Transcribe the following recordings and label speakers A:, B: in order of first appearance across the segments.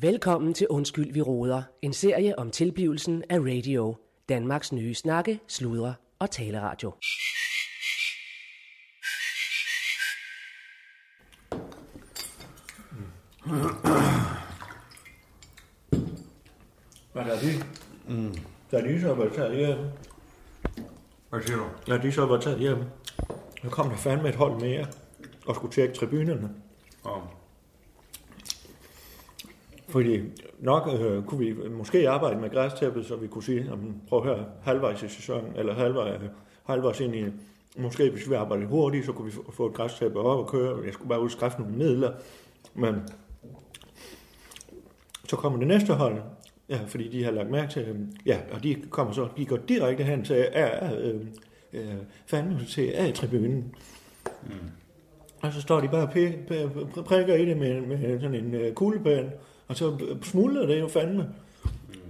A: Velkommen til Undskyld, vi råder. En serie om tilblivelsen af radio. Danmarks nye snakke, sludre og taleradio.
B: Tadi. Mm. Tadi så var taget hjem.
C: Hvad siger du?
B: Tadi så var taget hjem. Nu kom der fandme et hold mere og skulle tjekke tribunerne.
C: Og
B: Fordi nok øh, kunne vi måske arbejde med græstæppet, så vi kunne sige, jamen, prøv at høre, halvvejs i sæsonen, eller halvvejs, halvvejs ind i, måske hvis vi arbejdede hurtigt, så kunne vi få- få et græstæppe op og køre, jeg skulle bare udskaffe nogle midler, men så kommer det næste hold, ja, fordi de har lagt mærke til, øh, ja, og de kommer så, de går direkte hen til, er, øh, øh, fandme til A-tribunen, og så står de bare og p- p- p- prikker i det med, med sådan en øh, kuglepen, og så smuldrer det jo fandme,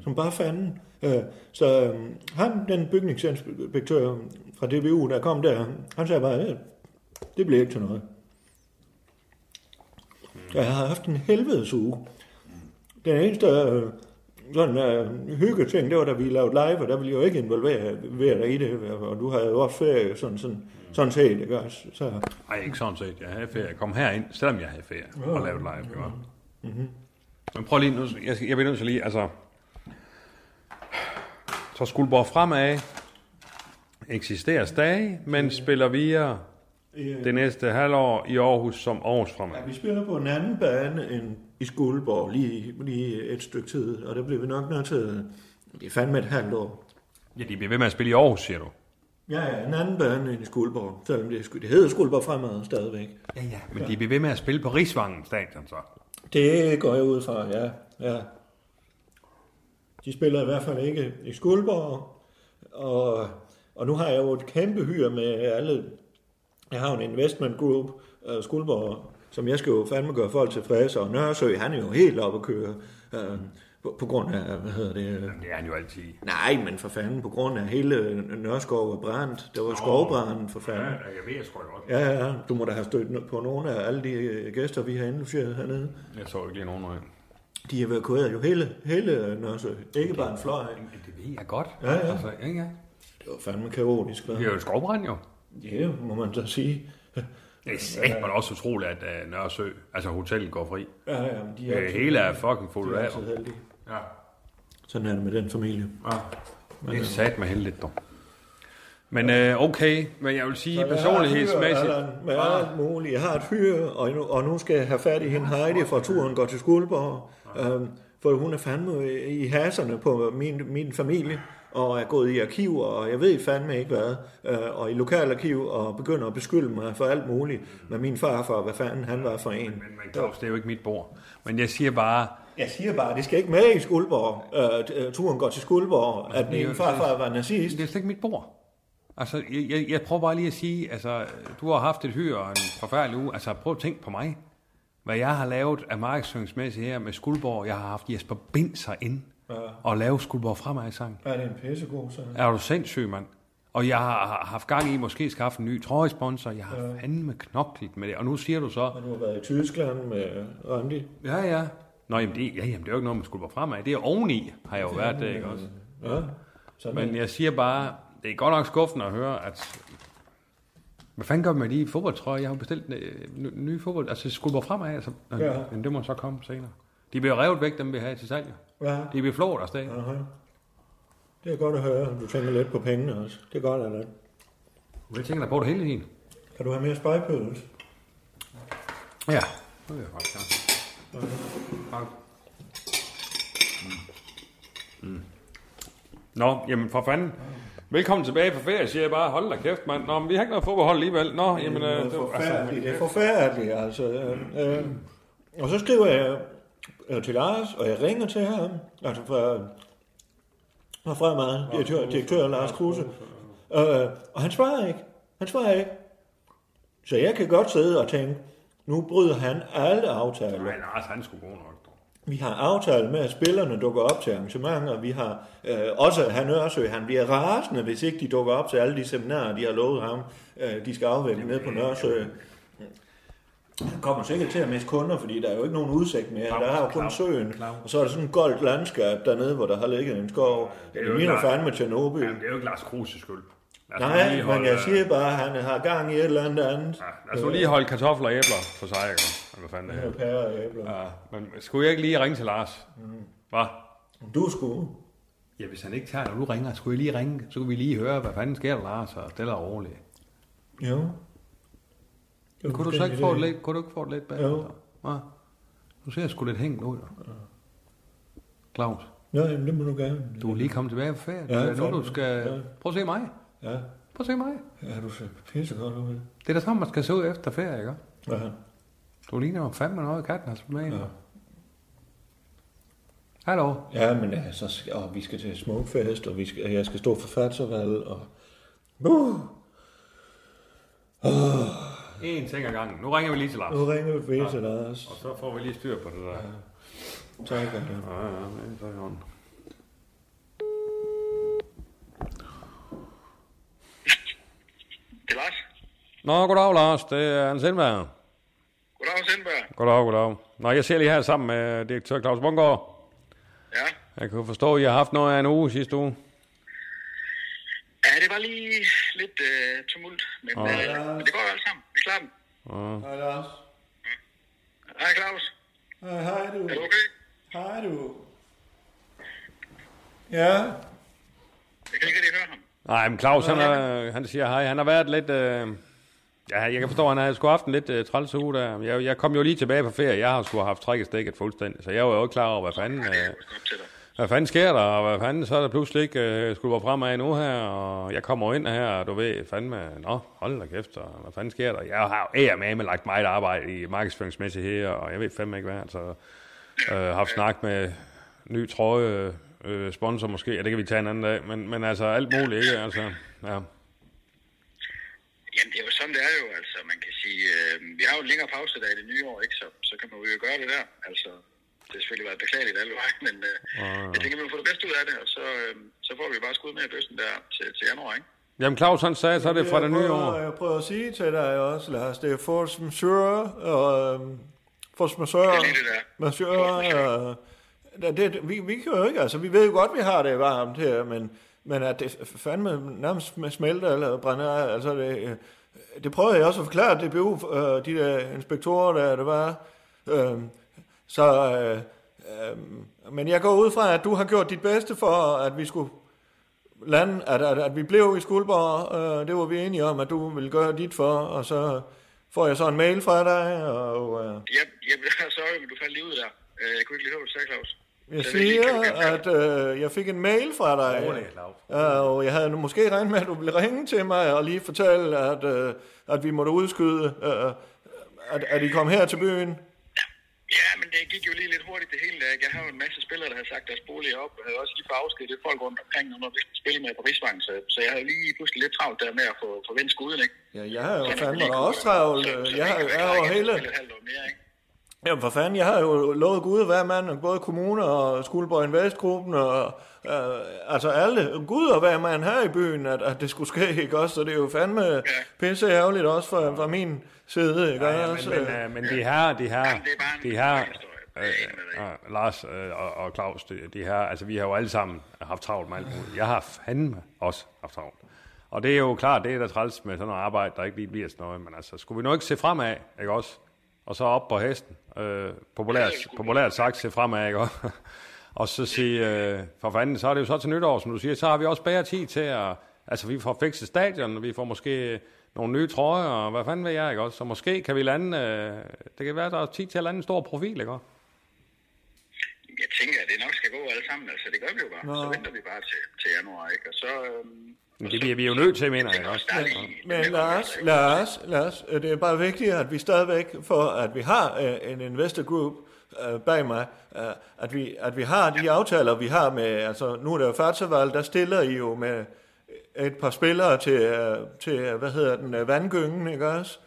B: som bare fanden. Øh, så øh, ham, den bygningsinspektør fra DBU, der kom der, han sagde bare, øh, det bliver ikke til noget. Og jeg har haft en helvedes uge. Den eneste øh, sådan, øh, hyggeting, det var, da vi lavede live, og der ville jeg jo ikke involvere være dig i det, og du havde jo også ferie, sådan, sådan, sådan set, ikke også? Så,
C: ej, ikke sådan set. Jeg havde ferie. Jeg kom herind, selvom jeg havde ferie og lavede live. Ja. Mm-hmm. Men prøv lige nu. Jeg, skal- jeg bliver nødt til lige, altså... Så Skuldborg fremad eksisterer stadig, men spiller videre
B: øh,
C: det næste halvår i Aarhus som Aarhus fremad.
B: Ja, vi spiller på en anden bane end i Skuldborg lige, lige et stykke tid, og der bliver vi nok nødt til, det er fandme et halvt år.
C: Ja, de bliver ved med at spille i Aarhus, siger du.
B: Ja, ja, en anden bane end i Skuldborg, selvom det, er sku- det hedder Skuldborg fremad stadigvæk.
C: Ja, ja. Men de bliver ved med at spille på Rigsvangen stadion, så.
B: Det går jeg ud fra, ja. ja. De spiller i hvert fald ikke i Skuldborg, og, og nu har jeg jo et kæmpe hyr med alle. Jeg har jo en investment group, uh, Skuldborg, som jeg skal jo fandme gøre folk tilfredse, og Nørresø, han er jo helt oppe at køre, uh, på, på grund af, hvad hedder det, øh,
C: Jamen, det er han jo altid.
B: Nej, men for fanden, på grund af hele øh, Nørreskov var brændt. Der var skovbranden for fanden.
C: jeg ved, jeg tror godt.
B: Ja, ja, du må da have stødt på nogle af alle de øh, gæster, vi har indlogeret hernede.
C: Jeg så ikke lige nogen øjne.
B: De evakuerede jo hele, hele øh, Nørresø. Ikke bare en fløj.
C: Det ved jeg godt.
B: Ja, ja.
C: Altså, ja, ja.
B: Det var fandme kaotisk, hva'?
C: Det er jo et skovbrand, jo.
B: Ja, må man da sige.
C: Det er sikkert også utroligt, at uh, Nørresø, altså hotellet går fri.
B: Ja, ja, men de er
C: Det
B: altid-
C: hele er fucking fuldt
B: de er
C: af.
B: altid heldige.
C: Ja.
B: Sådan er det med den familie.
C: ja. Det er
B: øh,
C: sat med heldigt, dog. Men øh, okay, men jeg vil sige
B: Så jeg
C: personlighedsmæssigt... Ah.
B: har et hyr, Allan, Med alt muligt. Jeg har et hyre, og nu, og nu skal jeg have fat i hende Heidi, fra turen går til Skuldborg. Øhm, for hun er fandme i haserne på min, min familie, og er gået i arkiver, og jeg ved fandme ikke hvad, øh, og i lokalarkiv, og begynder at beskylde mig for alt muligt, med min far for, hvad fanden han var for en.
C: Men, men Claus, det er jo ikke mit bord. Men jeg siger bare,
B: Jeg siger bare, det skal ikke med i Skuldborg, øh, turen går til Skuldborg, at
C: det er jo-
B: min farfar var nazist.
C: det er slet ikke mit bord. Altså, jeg, jeg, jeg prøver bare lige at sige, altså, du har haft et hyr og en forfærdelig uge. Altså, prøv at tænke på mig. Hvad jeg har lavet af markedsføringsmæssigt her med Skuldborg. Jeg har haft Jesper Binser ind og lavet Skuldborg fremad sang.
B: Ja, det er en pissegod sang.
C: Er du sindssyg, mand? Og jeg har haft gang i, måske skaffe en ny trøjesponsor. Jeg har fandme knoklet med det. Og nu siger du så,
B: Og du har været i Tyskland med Randi.
C: ja, ja. Nå, jamen det, ja, jamen, det er jo ikke noget, man skulle være fremad. Det er oveni, har jeg jo været det, ikke også?
B: Ja, sådan
C: Men jeg siger bare, det er godt nok skuffende at høre, at... Hvad fanden gør man med de fodboldtrøjer? Jeg har jo bestilt øh, ny- nye fodbold. Altså, det skulle være fremad, altså.
B: Ja.
C: Men det må så komme senere. De bliver revet væk, dem vi har til salg. jo.
B: Ja.
C: De bliver flået af sted.
B: Aha. Det er godt at høre. Du tænker lidt på pengene også. Det er godt, Allan.
C: Jeg tænker da på det hele tiden.
B: Kan du have mere spejpødels?
C: Ja. Det vil jeg faktisk gerne. Tak. Mm. Nå, jamen for fanden. Velkommen tilbage på ferie, siger jeg bare. Hold da kæft, mand. Nå, men vi har ikke noget fodbold alligevel. Nå, jamen...
B: det
C: Øh,
B: er
C: det var-
B: forfærdeligt. Det er forfærdeligt, altså. Øh, øh. Og så skriver jeg øh, til Lars, og jeg ringer til ham, altså fra, fra fremad, direktør, direktør Lars Kruse. Øh, og han svarer ikke. Han svarer ikke. Så jeg kan godt sidde og tænke, nu bryder han alle aftaler.
C: Nej, Lars, han skulle gå nok. dog.
B: Vi har aftalt med, at spillerne dukker op til arrangementer. Vi har øh, også han Nørresø, han bliver rasende, hvis ikke de dukker
C: øh,
B: op til alle de seminarer, de har lovet ham, øh, de skal afvælge ned på Nørresø. Der kommer sikkert til at miste kunder, fordi der er jo ikke nogen udsigt mere.
C: Claus,
B: der er jo kun
C: Claus,
B: søen,
C: Claus.
B: og så er der sådan et goldt landskab dernede, hvor der har ligget en skov.
C: det er
B: Det,
C: jo
B: ligner
C: klart.
B: fandme Tjernobyl.
C: Jamen, det er jo ikke Lars Kruses skyld. Lad os nu
B: Nej,
C: lige
B: men
C: holde- øh,
B: jeg siger bare, at han har gang i et eller andet andet.
C: Ja, lad os nu lige holde kartofler og æbler for sig, ikke? Eller Hvad fanden det er.
B: Med pærer og æbler.
C: Ja, men skulle jeg ikke lige ringe til Lars? Hvad?
B: Du skulle.
C: Ja, hvis han ikke tager, når du ringer, skulle jeg lige ringe, så kunne vi lige høre, hvad fanden sker der, Lars, og stille og roligt.
B: Jo. Det var
C: Kunne du
B: måske
C: så
B: en
C: ikke
B: idé.
C: få det lidt, kunne du ikke få det lidt bag?
B: Jo.
C: Ja. Nu ser jeg sgu lidt hængt ud. Claus,
B: Ja, jamen, det må du gerne.
C: du er lige kommet tilbage fra ferie.
B: Ja,
C: Ja, nu
B: fandme.
C: du skal...
B: Ja.
C: Prøv at se mig.
B: Ja,
C: Prøv at se mig.
B: ja du ser pissegodt ud.
C: Det er da sådan, man skal se ud efter ferie, ikke?
B: Ja.
C: Du ligner jo fandme noget, katten har spillet med.
B: Ja.
C: Ja. Hallo.
B: Ja, men altså, sk- og vi skal til smukfest, og vi skal, og jeg skal stå for fatservalg, og... Uh,
C: En ting ad gangen. Nu ringer vi lige til Lars.
B: nu ringer vi ved til Lars.
C: Og så får vi lige styr på det der.
B: Tak, Allan.
C: Ja, ja, ja, så er det
D: Det er Lars.
C: Nå, goddag Lars. Det er Hans Indberg.
D: Goddag, Sindberg.
C: Goddag, goddag. Nå, jeg ser lige her sammen med direktør Claus Bungård.
D: Ja.
C: Jeg kan jo forstå, at I har haft noget af en uge sidste uge.
D: ja, det var lige lidt øh, tumult, men, øh, men det går jo alt sammen. Vi klarer den.
B: Hej, Lars.
D: Hej Claus,
B: Hej, hej du.
D: er du okay?
B: Hej du. Ja,
D: Jeg kan ikke rigtig høre ham.
C: Nej, men Claus, han, er, han siger hej. Han har været lidt... Øh, ja, jeg kan forstå, at han har sgu haft en lidt øh, træls uge der. Jeg, jeg kom jo lige tilbage på ferie. Jeg har sgu haft trækket stikket fuldstændig, så jeg var jo ikke klar over, hvad fanden... Øh,
D: Jeg skal op til dig.
C: hvad fanden sker der, og hvad fanden, så er der pludselig ikke øh, skulper fremad nu her, og jeg kommer ind her, og du ved, fandme, nå, hold da kæft, og hvad fanden sker der? Jeg har jo med lagt meget arbejde i markedsføringsmæssigt her, og jeg ved fandme ikke hvad, altså, øh, haft snak med ny trøje, øh, sponsor måske, ja, det kan vi tage en anden dag, men, men altså, alt muligt, ikke, altså, ja.
D: Jamen, det er jo sådan, det er jo. Altså, man kan sige, øh, vi har jo en længere pause der i det nye år, ikke? Så, så kan man jo gøre det der. Altså, det har selvfølgelig været beklageligt alle vejen, men øh, jeg tænker, vi får det bedste ud af det, og så, øh, så får vi bare skud med i bøssen der til, til januar, ikke?
C: Jamen, Claus, han sagde, så er det fra det nye år.
B: Jeg prøver at sige til dig også, Lars, det er force majeure, og øhm, force majeure,
D: Det er lige det der.
B: majeure, og, øh, ja, det, vi, vi kan jo ikke, altså, vi ved jo godt, vi har det varmt her, men, men at det fandme nærmest smelter eller brænder, af, altså det, øh, det prøvede jeg også at forklare til DBU, øh, de der inspektorer, der det var, øh, så, øh, øh, men jeg går ud fra, at du har gjort dit bedste for, at vi skulle land, at, at, at vi blev i Skuldborg, øh, det var vi enige om, at du ville gøre dit for, og så får jeg så en mail fra dig, og øh,
D: Ja, jeg, sorry, men du faldt lige ud der. Øh, Jeg kunne ikke lige høre, hvad du sagde, Claus.
B: jeg
D: Så det er lige-
B: siger,
D: kan du gerne-
B: at øh, jeg fik en mail fra dig,
C: Rolig, Claus.
B: øh, og jeg havde nu måske regnet med, at du ville ringe til mig og lige fortælle, at, øh, at vi måtte udskyde, øh, at, at I kom her til byen.
D: Ja, men det gik jo lige lidt hurtigt det hele. Jeg har jo en masse spillere, der har sagt deres bolig op. Jeg havde også lige fået afskedet folk rundt omkring, når vi skulle spille med på Rigsvangen. Så, så jeg havde lige pludselig lidt travlt der med at få, få vendt skuden, ikke?
B: Ja, jeg har jo
D: Så-
B: fandme
D: så-
B: da også travlt. øh,
D: så- så-
B: Jeg har
D: så-
B: jeg har jo
D: så-
B: hele...
D: så- et halvt år mere, ikke?
B: Jamen for fanden, jeg har jo lovet Gud hver mand, både kommuner og Skuldborg Investgruppen, og øh, altså alle, Gud og hver mand her i byen, at, at det skulle ske, ikke også? Så det er jo fandme ja. pisse ærgerligt også fra, fra min side, ikke
C: Ja,
B: også?
C: men, men, øh, men de her, de her,
D: Jamen, det er bare
C: de
D: en
C: her,
D: lang historie.
C: øh,
D: Det er en af
C: øh, Lars øh, og, og Claus, de, de her, altså vi har jo alle sammen haft travlt med alt muligt. Jeg har fandme også haft travlt. Og det er jo klart, det er da træls med sådan noget arbejde, der ikke lige bliver sådan noget, men altså, skulle vi nu ikke se fremad, ikke også? Og så op på hesten, øh, populært, populært sagt, se fremad, ikke også? Og så sige, øh, for fanden, så er det jo så til nytår, som du siger, så har vi også bedre tid til at, altså vi får fikset stadion, og vi får måske nogle nye trøjer, og hvad fanden ved jeg, ikke også? Så måske kan vi lande, øh, det kan være, der er tid til at lande en stor profil, ikke også?
D: Jeg tænker, at det nok skal gå alle sammen. Altså, det gør vi jo bare. Så venter vi bare til, til januar, ikke? Og så... Øhm,
C: Men det bliver vi jo nødt til, mener jeg, ikke også?
D: der er lige-
B: Men Lars, Lars, Lars, øh, det er bare vigtigt, at vi stadigvæk, for at vi har øh, en investor group øh, bag mig, øh, at, vi, at vi har de aftaler, vi har med, altså nu er der jo Fartsevalg, der stiller I jo med et par spillere til, øh, til øh, hvad hedder den, øh, vandgyngen, ikke også?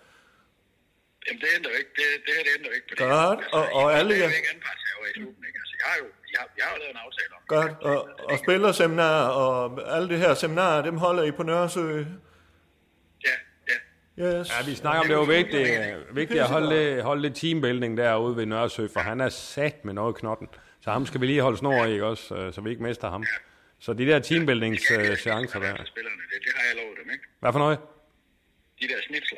D: Jamen, det ændrer jo ikke. Det, det her, det ændrer jo ikke på det.
B: Godt, og- og alle
D: jer... Jeg
B: jer-
D: er jo ikke anpartshaver i klubben, ikke? Altså, jeg har jo, jeg, har- jeg har jo lavet en aftale om det.
B: Godt, og, og spillerseminarer og alle de her seminarer, dem holder I på Nørresø.
D: Ja, ja.
B: Yes.
C: Ja, vi snakker om, det var vigtigt, øh, vigtigt at holde, holde lidt teambuilding derude ved Nørresø, for han er sat med noget i knotten. Så ham skal vi lige holde snor i, ikke også, øh, så vi ikke mister ham. Så de der teambuildings-chancer der.
D: der. Spillerne, det, det har jeg lovet dem, ikke?
C: Hvad for noget?
D: De der snitsler.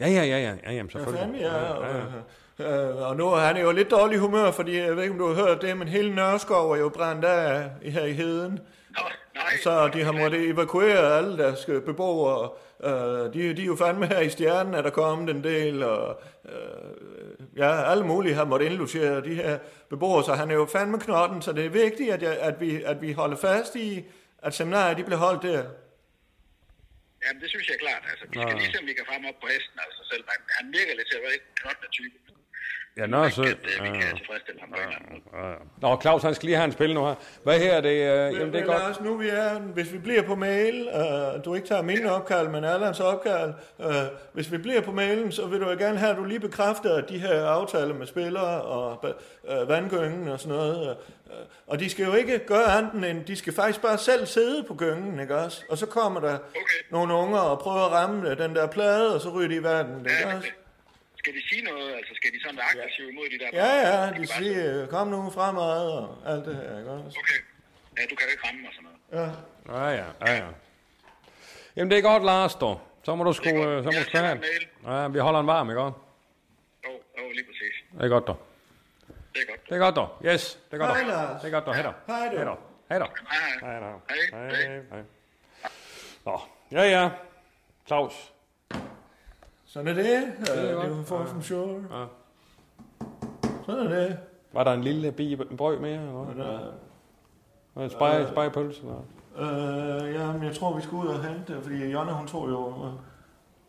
C: Ja, ja, ja, ja, ja
B: Fandme,
C: jamen, selvfølgelig.
B: ja. Og, øh, og nu er han jo lidt dårlig i humør, fordi jeg ved ikke, om du har hørt det, men hele Nørreskov er jo brændt af i- her i heden.
D: Nå, nej.
B: Så de har måttet evakuere alle deres øh, beboere. Øh, de, de er jo fandme her i stjernen, er der kommet en del, og øh, ja, alle mulige har måttet indlogere de her beboere, så han er jo fandme knotten, så det er vigtigt, at, jeg, at, vi, at vi holder fast i, at seminariet de bliver holdt der.
D: Jamen, det synes jeg er klart. Altså, vi skal
C: Nå.
D: lige se, om vi kan frem op på hesten, altså selv. Han, han virker lidt til at være lidt knottende type.
C: Ja, Nørresø.
D: At, øh, vi
C: Ja.
D: kan tilfredsstille ham på en eller anden måde.
C: Ja, ja. Nå, Claus, han skal lige have en spil nu her. Hvad her er det? Øh, jamen, det er godt.
B: Lars, nu vi er, hvis vi bliver på mail, øh, du ikke tager mine opkald, men Allans opkald, øh, hvis vi bliver på mailen, så vil du jo gerne have, at du lige bekræfter at de her aftaler med spillere og øh, vandgyngen og sådan noget. Øh, og de skal jo ikke gøre andet end, de skal faktisk bare selv sidde på gyngen, ikke også? Og så kommer der
D: Okay.
B: nogle unger og prøver at ramme den der plade, og så ryger de i vandet, ikke
D: Ja,
B: også?
D: Skal de sige noget? Altså, skal de sådan være aggressive imod de der?
B: Ja, ja,
D: kan
B: de
D: bare-
B: siger, øh, kom nu fremad og alt det her, ikke også?
D: Okay. Ja, du kan jo ikke ramme mig sådan
B: Ja.
C: Ja,
D: noget.
C: ja, ja, ja. Jamen, det er godt, Lars, dog. Så må du sgu,
D: Det er
C: øh,
D: godt.
C: så må
D: Jeg
C: du sgu
D: sender
C: have.
D: en mail.
C: Ja, vi holder en varm, ikke også?
D: Jo, jo, lige præcis.
C: Det er godt, dog.
D: Det er godt.
C: Det er godt, dog. Yes, det er godt, dog.
B: Hej, Lars.
C: Det er godt, dog. Hej, dog.
B: Hej, du.
C: Hej, dog. Hej, dog.
D: Hej, hej.
C: Hej, dog.
D: Hej, hej.
C: Hej, hej. Nå, ja, ja. Claus.
B: Sådan er det. Øh, det
C: godt.
B: er jo for som sure.
C: Ja.
B: Sådan er det.
C: Var der en lille bi brøg mere, eller hvad?
B: Nå.
C: Var det Spej, spejpølse, eller hvad?
B: Øh, jamen, jeg tror, vi skal ud og hente det, fordi Jonna, hun tog jo... øh,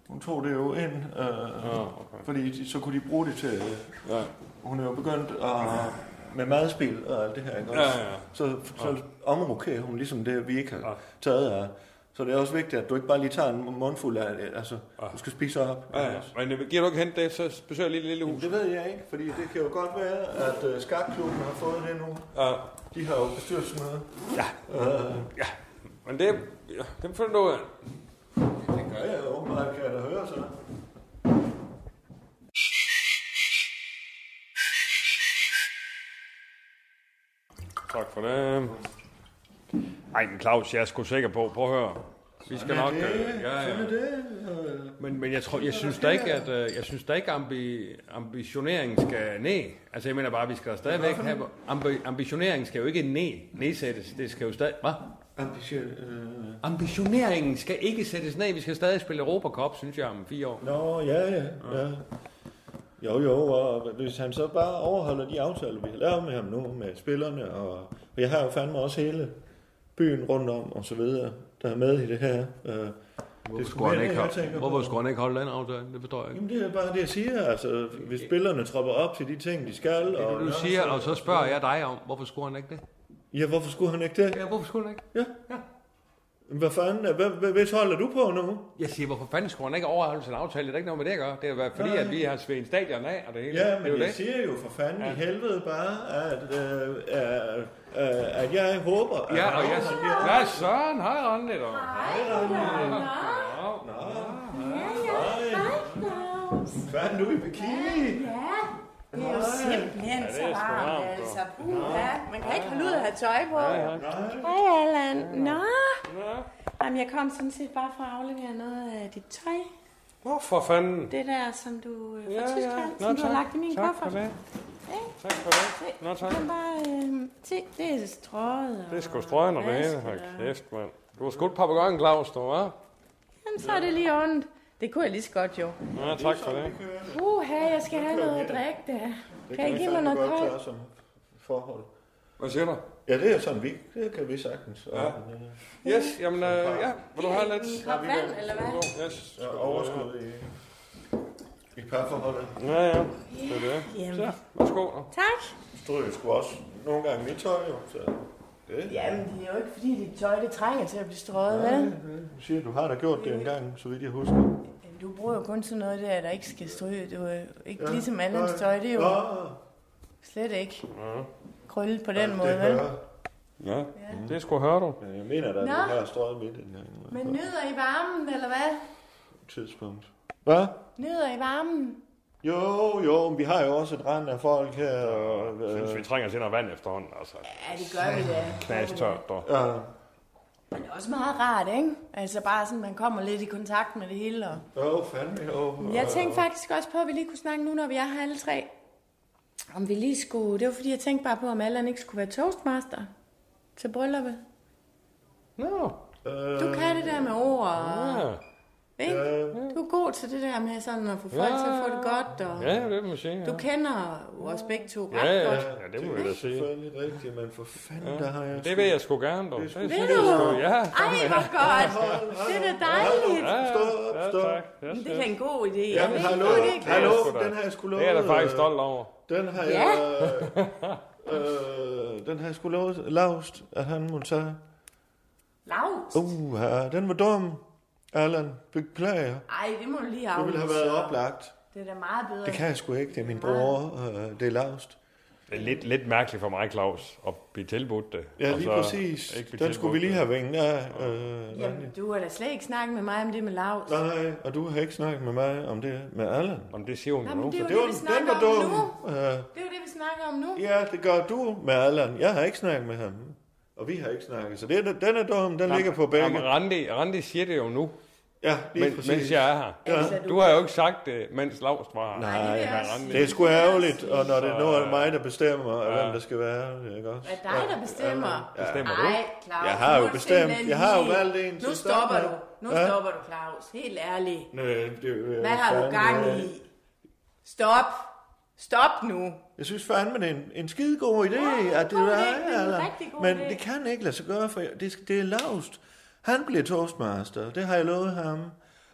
B: Hun tog det jo ind, øh, ja,
C: Ah, okay.
B: fordi de, så kunne de bruge det til... øh,
C: Ja.
B: Hun er jo begyndt at, med madspil og alt det her, ikke? også?
C: Ja, Ah. ja, ja.
B: Så, så omrokerer hun ligesom det, vi ikke har
C: Ja.
B: taget af. Så det er også vigtigt, at du ikke bare lige tager en mundfuld af det. Altså, du skal spise op.
C: Ah. Ja, ja. Men øh, giver du ikke hente det, så besøger lige det lille hus.
B: Det ved jeg ikke, fordi det kan jo godt være, at øh, skakklubben har fået det nu.
C: Ja.
B: De har jo bestyrelsesmøde.
C: Ja. Men det, ja, dem finder du ud af.
B: Ja, ja, åbenbart kan jeg da høre, så.
C: Tak for det. Ej, men Claus, jeg er sgu sikker på. Prøv at høre. Vi skal nok... øh, Ja,
B: Sådan
C: ja.
B: er det. øh.
C: Men, men jeg, tror, jeg synes da ikke, at øh, jeg synes da ikke, ambi, ambitioneringen skal ned. Altså, jeg mener bare, vi skal stadigvæk have... Ambi, ambitioneringen skal jo ikke ned, nedsættes. Det skal jo stadig... Hvad?
B: Ambition. Øh.
C: Ambitioneringen skal ikke sættes ned. Vi skal stadig spille Europa Cup, synes jeg, om fire år.
B: Nå, ja, ja, ja. Jo, jo, og hvis han så bare overholder de aftaler, vi har lavet med ham nu, med spillerne, og, og jeg har jo fandme også hele byen rundt om, og så videre, der er med i det her. Øh, det er
C: Hvorfor
B: sgu
C: skulle
B: mere
C: han ikke,
B: det, jeg
C: holde-
B: tænker på.
C: hvorfor skulle han ikke holde den aftale? Det forstår jeg ikke.
B: Jamen, det er bare det, jeg siger, altså, hvis spillerne tropper op til de ting, de skal, og...
C: Det du siger, og så spørger jeg dig om, hvorfor skulle han ikke det?
B: Ja, hvorfor skulle han ikke det?
C: Ja, hvorfor skulle han ikke?
B: Ja.
C: Ja.
B: Hvad fanden, hvad, hvad, hvis holder du på nu?
C: Jeg siger, hvorfor fanden skulle han ikke overholde sin aftale? Det er da ikke noget med det at gøre. Det er jo fordi,
B: Nej.
C: at vi har svedt stadion af, og det hele.
B: Ja,
C: det er
B: men
C: jo
B: jeg
C: det.
B: siger jo for fanden ja. i helvede bare, at, øh, øh, øh, at jeg håber, at
C: Ja, og jeg siger, ja, Søren, hej Randi, dog.
B: fanden du i bikini.
E: Ja, det er jo simpelthen så varmt, altså. Puha, man kan ikke holde ud at have tøj på. Hej, Allan. Nå. Jamen, jeg kom sådan set bare for at aflevere noget af dit tøj.
C: Nå, for fanden.
E: Det der, som du øh, fra
C: Ja, ja.
E: Tyskland, som du har lagt i min
C: tak
E: kuffert.
C: for det.
E: Ja.
C: Tak for det. Nå,
E: Du
C: tak.
E: kan bare øh, se, det er strøget.
C: Det er sgu strøgn og det hele. Hold kæft, mand. Du har skudt papagøjen, Claus, du, hva'?
E: Jamen, så er det lige ondt. Det kunne jeg lige så godt, jo.
C: Ja, tak for det.
E: Uha, jeg skal have noget at drikke der. Kan I give mig noget koldt?
B: som forhold.
C: Hvad siger du?
B: Ja, det er sådan, vi, det kan vi sagtens. Ja.
C: Yes, jamen, øh, ja, vil du have
E: En
C: lidt?
E: kop vand, eller hvad?
C: Yes.
B: Og overskud i, i parforholdet.
C: Ja, ja, det er det.
E: Jamen,
C: Så, værsgo. da.
E: tak.
B: Stod jo sgu også nogle gange mit tøj, jo. Så det.
E: Jamen, det er jo ikke fordi, dit tøj det trænger til at blive strøget, vel?
B: Du siger, du har da gjort det en gang, så vidt jeg husker.
E: Jamen, Du bruger jo kun sådan noget der, der ikke skal stryge. Du er jo ikke
B: Ja,
E: ligesom andens
B: nej.
E: tøj, det er jo
B: Nå,
E: slet ikke krøllet på den
B: det
E: måde, vel?
B: gør.
C: Ja, det skulle høre du.
B: Men jeg mener da, at
E: Nå.
B: du har strøget midt en gang.
E: Men nyder I varmen, eller hvad?
B: tidspunkt. Hvad?
E: Nyder i varmen.
B: Jo, jo, men vi har jo også et rand af folk her. Og,
C: Jeg synes,
B: øh,
C: vi trænger til noget vand efterhånden, altså.
E: Ja, det gør vi da.
C: Knastørt, dog.
B: ja,
E: Men det er også meget rart, ikke? Altså bare sådan, man kommer lidt i kontakt med det hele. Og...
B: jo, fandme, jo.
E: Jeg tænkte faktisk også på, at vi lige kunne snakke nu, når vi er her alle tre. Om vi lige skulle... Det var fordi, jeg tænkte bare på, om Allan ikke skulle være toastmaster til brylluppet.
C: Nå,
E: Du
B: Øh,
E: kan det der med ord, og,
C: ja.
E: ikke? Du er god til det der med sådan at få folk til at få det godt, og
C: Ja, det må man sige. Ja.
E: du kender jo os begge to
C: Ja,
E: ret
C: ja,
E: godt.
C: ja, det må vi da
B: Det er
C: sige.
B: selvfølgelig rigtigt, men for fanden, der har jeg...
C: Det vil jeg sgu gerne, dog. Det
B: skulle-
E: Ved
C: synes
E: du?
C: jeg sgu, Ja,
E: Ej, hvor godt! Det er da dejligt!
C: ja,
B: Stop,
C: ja,
B: stop.
C: tak. Ja,
E: Det er da en god idé.
B: Jamen,
E: Det er en
B: hallo,
E: god idé.
B: hallo,
C: Det er sgu da-
B: den har jeg sgu lovet.
C: Det er jeg da faktisk
B: øh,
C: stolt over.
B: Den har
E: Ja.
B: jeg... Øh, den har jeg sgu lovet Laust, at han måtte tage.
E: Lavs.
B: Uh, den var dum. Allan, beklager.
E: Ej, det må du lige
B: Det
E: aflyse.
B: ville have været oplagt.
E: Det er da meget bedre.
B: Det kan jeg sgu ikke. Det er min bror. Øh, det er Laust.
C: Det er lidt, lidt mærkeligt for mig, Claus, at blive tilbudt det.
B: Ja,
C: Og
B: lige
C: så
B: præcis.
C: Altså, ikke blive
B: Den skulle vi
C: tilbudt
B: lige
C: det.
B: have vinget af. Øh,
E: Jamen,
B: Randi.
E: du har da slet ikke snakket med mig om det med Lavs.
B: Nej, og du har ikke snakket med mig om det med Allan.
C: Jamen, det siger hun jo
E: Jamen,
C: nu.
E: det er jo
B: Det var,
E: det, vi
B: den
E: snakker
B: var
E: om
B: dum.
E: nu.
B: Øh,
E: Det er jo det, vi snakker om nu.
B: Ja, det gør du med Allan. Jeg har ikke snakket med ham. Og vi har ikke snakket. Så det, er- den er dum. Den ligger på
C: Jamen,
B: begge.
C: Randi, Randi siger det jo nu,
B: Ja, lige
C: men,
B: præcis.
C: mens jeg er her.
E: Altså,
C: Du har jo ikke sagt det, mens Claus var her.
E: Nej, det er
C: Men
E: også-
C: Randi-
B: Det er sgu ærgerligt, og når det nu er mig, der bestemmer, øh, ja. hvem der skal være, det, ikke også?
E: Er det dig, der bestemmer?
C: Bestemmer du?
E: Nej, Claus.
B: Jeg har jo
E: nu er det
B: bestemt.
E: simpelthen
B: Jeg har jo
E: helt-
B: valgt en til
E: Nu
B: at starte
E: stopper du.
B: med.
E: Nu
B: Ja.
E: stopper du, Claus. Helt ærligt.
B: Næ, det, øh,
E: Hvad har du
B: fandme-
E: gang i? Stop. Stop nu.
B: Jeg synes fandme, det er en, en skide god idé,
E: Ja,
B: at det
E: god idé,
B: er
E: det er en
B: Allan.
E: rigtig god
B: Men
E: idé.
B: det kan ikke lade sig gøre, for jeg- det, skal- det er lavst. Han bliver toastmaster, det har jeg lovet ham.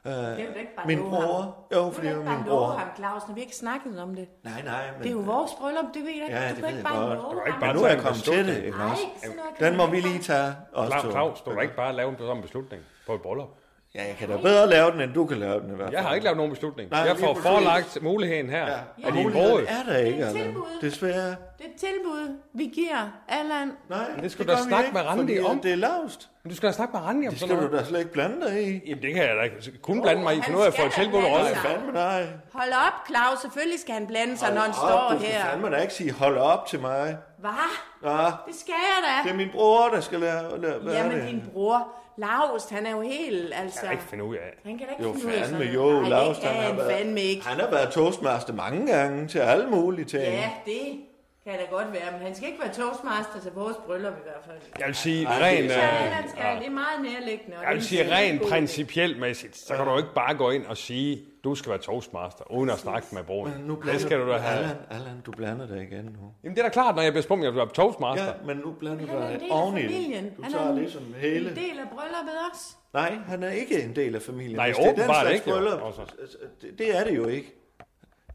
B: Uh,
E: Det vil du ikke bare
B: min
E: love ham.
B: bror. Jo, for det er jo
E: du ikke
B: min
E: bare love
B: bror.
E: ham, Claus, når vi ikke snakket om det.
B: Nej, nej, men... øh,
E: Det er jo vores bryllup, det ved jeg ikke.
B: Ja,
E: du
B: det
E: kan
B: ved
E: ikke
B: jeg
E: bare
B: godt.
E: love
C: Du kan ikke
E: ham.
B: Men
C: bare
B: nu er
C: tage
B: jeg
C: en
B: kommet til
C: beslutning.
B: det, ikke
E: Nej,
B: også?
E: sådan noget kan
B: Den må
E: man
B: vi
E: ikke
B: lige tage også
C: Claus,
B: to.
C: Claus, du kan ikke bare lave en sådan beslutning på et bryllup.
B: Ja, jeg kan da bedre lave den, end du kan lave den i hvert fald.
C: Jeg har ikke lavet nogen beslutning.
B: Nej,
C: jeg
B: lige
C: får
B: præcis.
C: forelagt muligheden her
B: Ja.
C: af
B: Og
C: din
B: muligheden
C: bror.
B: er der ikke,
E: Det er et
B: Allan.
E: tilbud.
B: Desværre.
E: Det er et tilbud, vi giver Allan.
B: Nej,
C: det skal du
B: gør
C: da
B: vi
C: snakke
B: ikke,
C: med Randi
B: fordi,
C: om.
B: at Det er lavst.
C: Men du skal da snakke med Randi om
B: Det skal
C: sådan
B: du
C: noget.
B: da slet ikke blande dig i.
C: Jamen, det kan jeg da ikke kun blande mig i, for
E: han
C: nu har jeg fået
E: skal altså. da
C: tilbudt
E: blande
C: rollen.
E: sig.
B: Fandme nej.
E: Hold op, Claus. Selvfølgelig skal han blande sig, når han
B: Hold
E: står
B: op, Du skal
E: her.
B: fandme da ikke sige, hold op til mig.
E: Hvad?
B: Ja,
E: Det skal jeg
B: det
E: da.
B: er min bror, der skal lære, lære hvad er
E: Jamen,
B: det?
E: din bror, Laust, han er jo helt, altså...
C: Jeg kan ikke finde ud af.
E: Han kan da ikke
B: Jo,
E: finde ud af
B: fandme,
E: sådan
B: jo,
E: noget. Nej,
B: Laust,
E: det kan han
B: været,
E: fandme ikke.
B: han har været toastmaster mange gange til alle mulige ting.
E: Ja,
C: Øh.
E: det kan da godt være, men han skal ikke være toastmaster til vores bryllup i hvert fald.
C: Jeg vil sige,
B: Ej,
C: rent,
B: det
E: Så
B: er
C: øh,
E: Allan skal, det er meget nærliggende. og
C: jeg vil
E: det
C: sige,
E: er en
C: rent
E: god idé.
C: principielt mæssigt, så kan du ikke bare gå ind og sige, du skal være toastmaster, uden at snakke med broren.
B: Nu blander
C: Det skal du da have.
B: Allan, Allan, du blander dig igen nu.
C: Jamen, det er da klart, når jeg bliver spurgt, om jeg vil være toastmaster.
B: Ja, men nu blander
E: Han
B: du
E: er en
B: dig
E: del af
B: oveni.
E: familien.
B: det. Du
E: Han er
B: tager
E: en-
B: ligesom
E: En
B: hele.
E: del af brylluppet også.
B: Nej, han er ikke en del af familien.
C: Nej,
B: Hvis det er den
C: åbenbart
B: slags
C: ikke, jo.
B: bryllup,
C: Altså.
B: det, det er det jo ikke.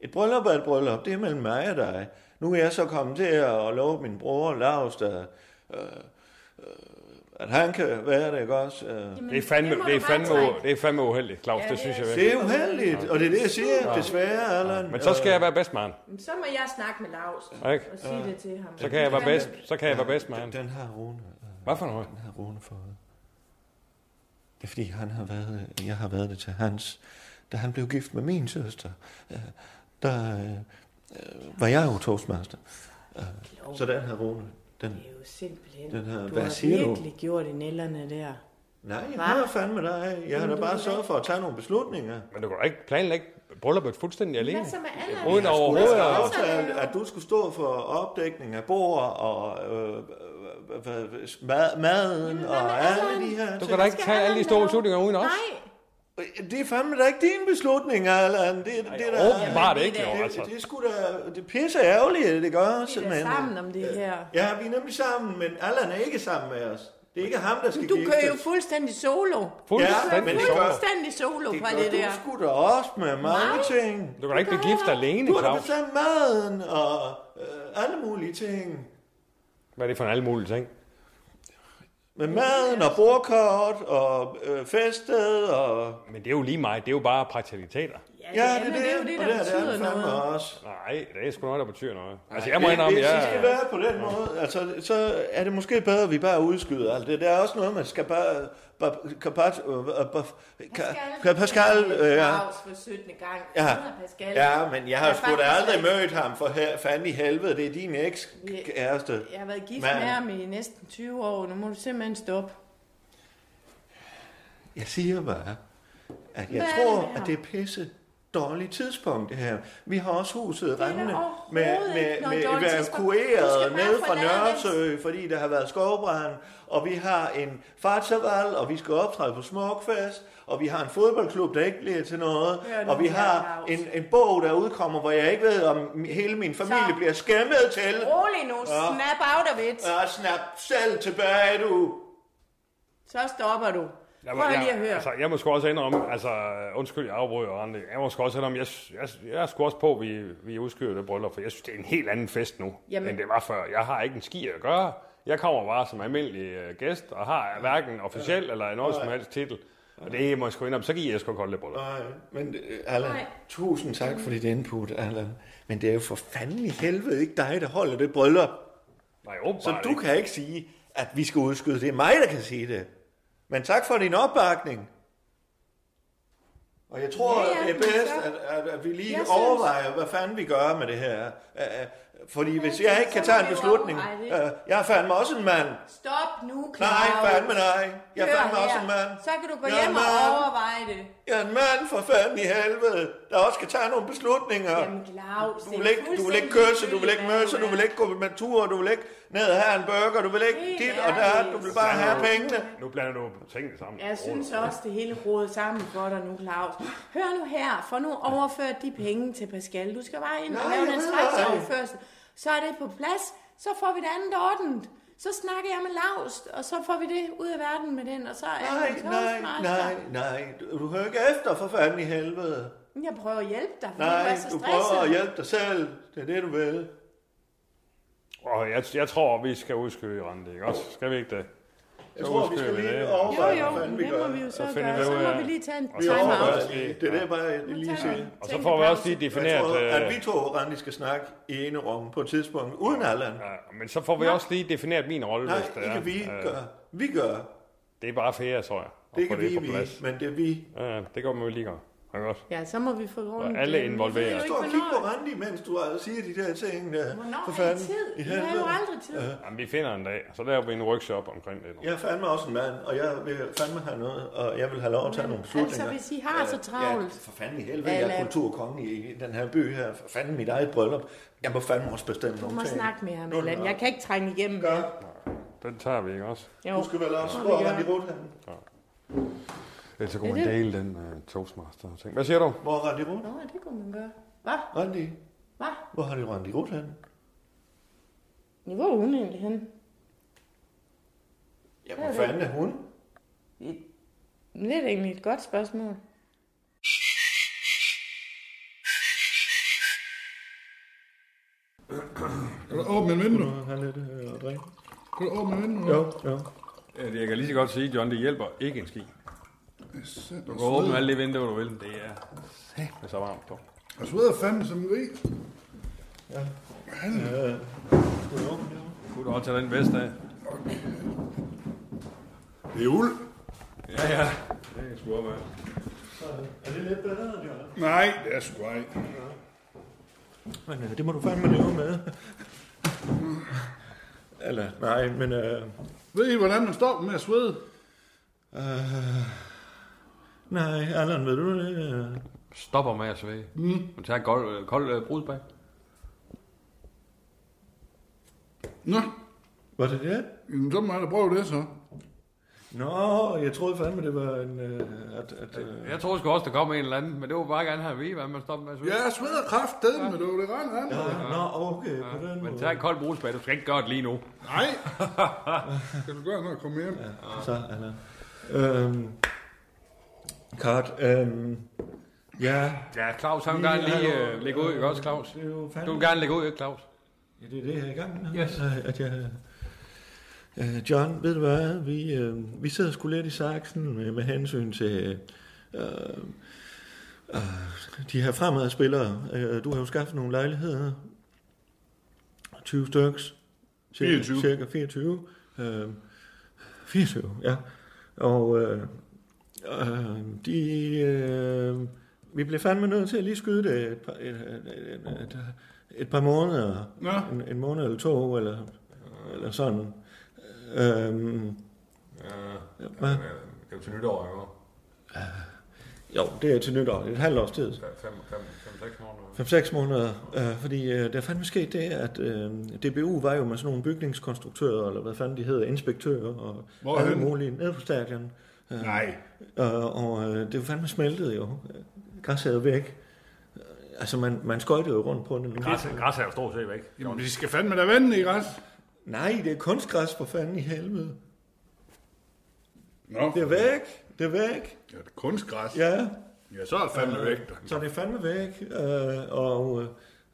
B: Et bryllup er et bryllup. Det er mellem mig og dig. Nu er jeg så kommet til at love min bror, Lars, der, øh, øh, at han kan være det, ikke også? Øh.
E: Jamen,
C: Det er fandme,
E: må
C: det er
E: du bare
C: fandme,
E: trække.
C: det er fandme uheldigt, Claus,
E: Ja,
C: det
E: det
C: synes
E: er
C: jeg virkelig.
B: Det er uheldigt, og det er det, jeg siger, desværre, Allan.
C: Men så skal jeg være bedstmand,
E: Jamen, Så må jeg snakke med Laust
C: ikke?
E: og sige det til ham.
C: Så kan jeg være bedst, så kan jeg være bedstmand.
B: Den har Rune, øh,
C: Hvad for noget?
B: den har Rune fået. Det er fordi, han har været, jeg har været det til hans, da han blev gift med min søster. Øh, Der øh, øh, var jeg jo toastmaster.
E: Jo,
B: Så den her Rune, den...
E: Det er jo simpelthen...
B: Den her-
E: du
B: hvad
E: har
B: siger du?
E: virkelig gjort i nælderne der.
B: Nej, jeg
E: Hva?
B: har fandme dig. Jeg har da
E: Jamen,
B: bare
E: du-
B: sørget for at tage nogle beslutninger.
C: Men du kan da ikke planlægge brylluppet fuldstændig alene.
E: Hvad så med Allan?
C: Uden
B: Jeg har
C: overhovedet.
B: aftalt, at du skulle stå for opdækning af bord og øh, øh, øh, mad, maden
E: Jamen, hvad med
B: og alle
E: Allan?
B: de her
C: Du
B: ting.
C: kan da ikke tage alle de store beslutninger uden os.
E: Nej,
B: Det er fandme da ikke din beslutning, Allan. Det, det, det, der,
C: Åbenbart ikke, jo,
B: det,
C: altså.
B: det, det, skulle da, det er pisse ærgerligt, det gør
E: vi er da
B: simpelthen.
E: sammen om det her.
B: Ja, vi er nemlig sammen, men Allan er ikke sammen med os. Det er ikke ham, der skal
E: Du
B: giftes.
E: kører jo fuldstændig
B: Ja,
E: solo.
B: men
C: Fuldstændig
B: det
C: sjovt.
B: gør-
E: Fuldstændig solo
B: Det
E: fra
B: gør
E: det
B: du
E: der.
B: sgu da også med mange ting.
C: Du kan da ikke blive gift alene,
B: Du har da
C: Claus.
B: bestemt maden og øh, alle mulige ting.
C: Hvad er det for en alle mulige ting?
B: Med maden og bordkort og øh, festet og...
C: Men det er jo lige mig. Det er jo bare praktikaliteter.
E: Ja,
B: Ja, det er
E: men Altså, det er jo
B: det,
E: det,
B: og
E: der
B: det, er det
E: betyder
B: er det fandme
E: noget.
B: også.
F: Nej, det er sgu noget, der betyder noget. Altså, jeg må
B: Det-
F: indrømme,
B: det,
F: jeg...
B: det skal være på den måde. Altså, så er det måske bedre, at vi bare udskyder alt det. Der er også noget, man skal bare... Ba, ka, ba, ba, ka, ka, Pascal... Øh, ja.
E: Claus for 17. gang.
B: Ja.
E: Ja. Pascal.
B: ja, men jeg har
E: Jeg
B: sgu da
E: faktisk
B: aldrig
E: ikke-
B: mødt ham, for her, fanden i helvede, det er din ekskæreste.
E: Jeg har været gift
B: Mand.
E: med ham i næsten 20 år. Nu må du simpelthen stoppe.
B: Jeg siger bare, at jeg
E: Hvad er det
B: tror,
E: her?
B: at det er pisse dårligt tidspunkt, det her. Vi har også huset
E: da
B: rendende
E: overhovedet
B: med, med,
E: ikke noget
B: med
E: dårligt tidspunkt. Du
B: evakueret
E: skal bare
B: ned fra
E: forlade
B: Nørresø, fordi der har været skovbrand, og vi har en fartsaval, og vi skal optræde på Smukfest, og vi har en fodboldklub, der ikke bliver til noget,
E: Hør nu
B: og vi
E: her,
B: har
E: Claus.
B: en, en bog, der udkommer, hvor jeg ikke ved, om mi- hele min familie
E: Så.
B: bliver skæmmet til.
E: Rolig nu. Snap out of it.
B: Ja, snap selv tilbage, du.
E: Så stopper du.
F: Jeg,
E: Prøv lige at høre.
F: Altså, jeg må sgu også indrømme, altså, undskyld, jeg afbryder, Randi. Jeg må sgu også indrømme, jeg, jeg, jeg er sgu også på, at vi, vi udskyder det bryllup, for jeg synes, det er en helt anden fest nu, Jamen.
E: Jamen.
F: end det var før. Jeg har ikke en ski at gøre. Jeg kommer bare som almindelig øh, gæst, og har hverken officiel eller noget som helst titel. Og det må jeg sgu indrømme, så giver jeg sgu koldt det bryllup.
B: Nej, men øh, Allan,
E: Nej. Mm.
B: tusind tak for dit input, Allan. Men det er jo for fanden i helvede ikke dig, der holder det bryllup.
F: Nej, åbenbart
B: Så du
F: ikke.
B: kan ikke sige, at vi skal udskyde. Det er mig, der kan sige det. Men tak for din opbakning. Og jeg tror,
E: Ja, ja,
B: ja, det er
E: men
B: bedst,
E: så-
B: at, at, at vi lige
E: Jeg
B: overvejer, hvad fanden vi gør med det her. Øh, øh, Fordi hvis jeg ikke kan tage en
E: så må vi jo
B: beslutning...
E: overveje
B: øh, Jeg er fandme også en mand.
E: Stop nu, Claus.
B: Nej, fandme nej. Jeg er
E: Hør
B: fandme også
E: her.
B: en mand.
E: Så kan du gå
B: Jeg er
E: hjem
B: en
E: og
B: mand.
E: overveje det.
B: Jeg er en mand for fanden i helvede, der også skal tage nogle beslutninger.
E: Jamen, Claus,
B: du
E: det
B: vil
E: er
B: ikke, du vil ikke
E: fuldstændig
B: kysse, du vil ikke
E: ligegyldigt,
B: møse, du
E: hvad
B: vil
E: du
B: ikke gå med tur, du vil ikke ned og have en burger, du vil ikke
E: Helt
B: dit og dat,
E: ærligt.
B: du vil bare have pengene.
F: Nu blander du tingene sammen.
E: Jeg synes også, det hele rodet sammen for dig nu, Claus. Hør nu her, for nu overført de penge til Pascal. Du skal bare ind og
B: Nej,
E: lave
B: jeg
E: en
B: ved
E: straksoverførsel. Så er det på plads, så får vi det andet ordent. Så snakker jeg med Laust, og så får vi det ud af verden med den, og så er
B: Nej,
E: det en
B: nej,
E: toastmaster.
B: nej, nej. Du, du hører ikke efter for fanden i helvede.
E: Men Jeg prøver at hjælpe dig, fordi du
B: Nej,
E: er så
B: du
E: stresset.
B: prøver at hjælpe dig selv. Det er det, du vil.
F: Og jeg, jeg tror, vi skal udskyde Randi, ikke også? Skal vi ikke det?
B: Jeg tror, vi skal
F: udskyder vi det.
B: lige
E: Jo,
B: overveje, hvad
E: jo,
B: fanden vi
E: det må
B: gør.
E: vi jo så
F: Så finder
E: gøre.
F: vi ud
E: Så
F: af-
E: må vi lige tage en
F: Og
B: Vi
F: så-
E: time-out.
B: overvejer det. Det er det, bare jeg lige siger.
F: Og så får vi også lige
B: Jeg
F: defineret...
B: tror,
F: øh,
B: at vi to, Randi, skal snakke i ene rum på et tidspunkt, uden Allan.
F: Ja, men så får vi også lige defineret min rolle,
B: Nej,
F: hvis det er.
B: ikke vi
F: Øh,
B: gør. Vi gør.
F: Det er bare fair, tror jeg. at
B: Det er
F: få
B: ikke vi,
F: på
B: vi,
F: plads.
B: men det er vi.
F: Ja, det går man vel lige godt. Ja, godt.
E: Ja, så må vi få rundt.
F: Og alle involveret.
E: Vi ved jo
B: Stå og
E: ikke,
B: kig på
E: hvornår-
B: Randi, mens du har- siger de der ting der. For
E: Hvornår er
B: fanden.
E: det tid?
B: I
E: Vi har jo
B: helvede.
E: aldrig tid.
F: Jamen, vi finder en dag, og så laver vi en workshop omkring det.
B: Jeg er fandme også en mand, og jeg vil fandme have noget, og jeg vil have lov at tage nogle beslutninger.
E: Altså, hvis I har så
B: Ja,
E: travlt.
B: for fanden i helvede, jeg er
E: Allan.
B: kulturkonge i den her by her. For fanden mit eget bryllup. Jeg må fandme også bestemme
E: Du
B: nogle
E: må
B: ting.
E: snakke med ham,
B: Nå,
E: Allan.
B: nå.
E: Jeg kan ikke trænge igennem.
B: Gør.
F: Den tager vi, ikke også?
E: Jo.
B: Du skal vel også
E: Nå,
B: spørge
E: vi
B: Randi
E: gør.
B: Rotham.
F: Ellers så kunne
E: Er
F: man
E: det-
F: dele den uh, Toastmaster ting. Hvad siger du?
B: Hvor er Randi Rotham?
E: Nå, det kunne man gøre. Hvad?
B: Randi,
E: Hvad?
B: hvor har du Randi Rotham?
E: Ja, Hvor er hun egentlig henne?
B: Ja, hvor fanden er hun?
E: Men Det er da egentlig et godt spørgsmål.
G: Kan du åbne en vindue?
B: Har lidt øh, at drikke?
G: Kan du åbne en vindue?
B: Jo, jo.
F: Jeg kan lige så godt sige, John, det hjælper ikke en ski.
G: Du
F: Du kan åbne alle de vinduer, du vil. Det er satme så varmt på.
G: Jeg sveder fanden som en gris.
F: Kunne du også tage den vest af?
G: Det er uld.
F: Ja, ja. Det er sgu op af.
B: Er det lidt bedre, Jørgen?
G: Nej, det er sgu ej.
B: Men øh, det må du fandme leve med. Eller, nej, men... Øh,
G: Ved I, hvordan man stopper med at svede?
B: nej, Allan, ved du det? Øh,
C: Stopper med at svæge. Mm. Du tager en kold, kold øh, brudebag.
G: Nå,
B: Var det det?
G: jamen, så må jeg da prøve det så.
B: Nå, jeg troede fandme, det var en... Øh, at, at, øh,
C: Jeg troede sgu også, der kom en eller anden, men det var bare gerne have at vide, hvordan man stopper med at svæge.
G: Ja, jeg sveder kraftedeme, men du. Det regner af mig.
B: ja, nå, okay, på den
C: Men
B: måde.
C: tag en kold brusbag, du skal ikke gøre det lige nu.
G: Nej. Kan du gøre, når jeg kommer hjem?
B: Så, Allan. Øhm, Kart, øhm, ja,
C: Ja, Claus, han vil gerne lige øh, lægge ud, ikke også, Claus?
B: det er jo fandme...
C: Du vil gerne lægge ud, ikke, Claus?
B: Ja, det er det, jeg er i gang med.
C: Yes.
B: Øh, At jeg, øh, John, ved du hvad? Vi, øh, vi sidder sgu lidt i saksen med, med hensyn til... Øh, de her fremad spillere. Øh, du har jo skaffet nogle lejligheder. 20 styks. Cirka
G: 24.
B: Cirka 24. Øh, 24, ja. Og øh, øh, de... Øh, vi blev fandme nødt til at lige skyde det et par, et, et, et, et par måneder.
G: Ja.
B: En, en måned eller to, eller, eller sådan. Øhm, ja, hvad?
F: Det er jo til nytår, jo.
B: Jo, det er til nytår. Det er et halvt års tid.
F: 5-6 måneder.
B: 5-6 måneder, øh, fordi øh, der fandme skete det, at øh, DBU var jo med sådan nogle bygningskonstruktører, eller hvad fanden de hedder, inspektører og
G: Hvorhenne?
B: alle mulige, nede på stadion. Øh,
G: Nej.
B: og og øh, det var fandme smeltet jo. Øh, Græs havde væk. Øh, Altså, man, man skøjtede jo rundt på det nu.
F: Græs er jo stort set væk.
G: Jamen, vi skal fandme da vende i græs.
B: Nej, det er kunstgræs for fanden i helvede.
G: Nå,
B: Det er væk. Det er væk.
G: Ja, det er kunstgræs. Ja.
B: Ja.
G: ja, så er det fandme væk. da.
B: Så det er fandme væk. Øh, og, øh,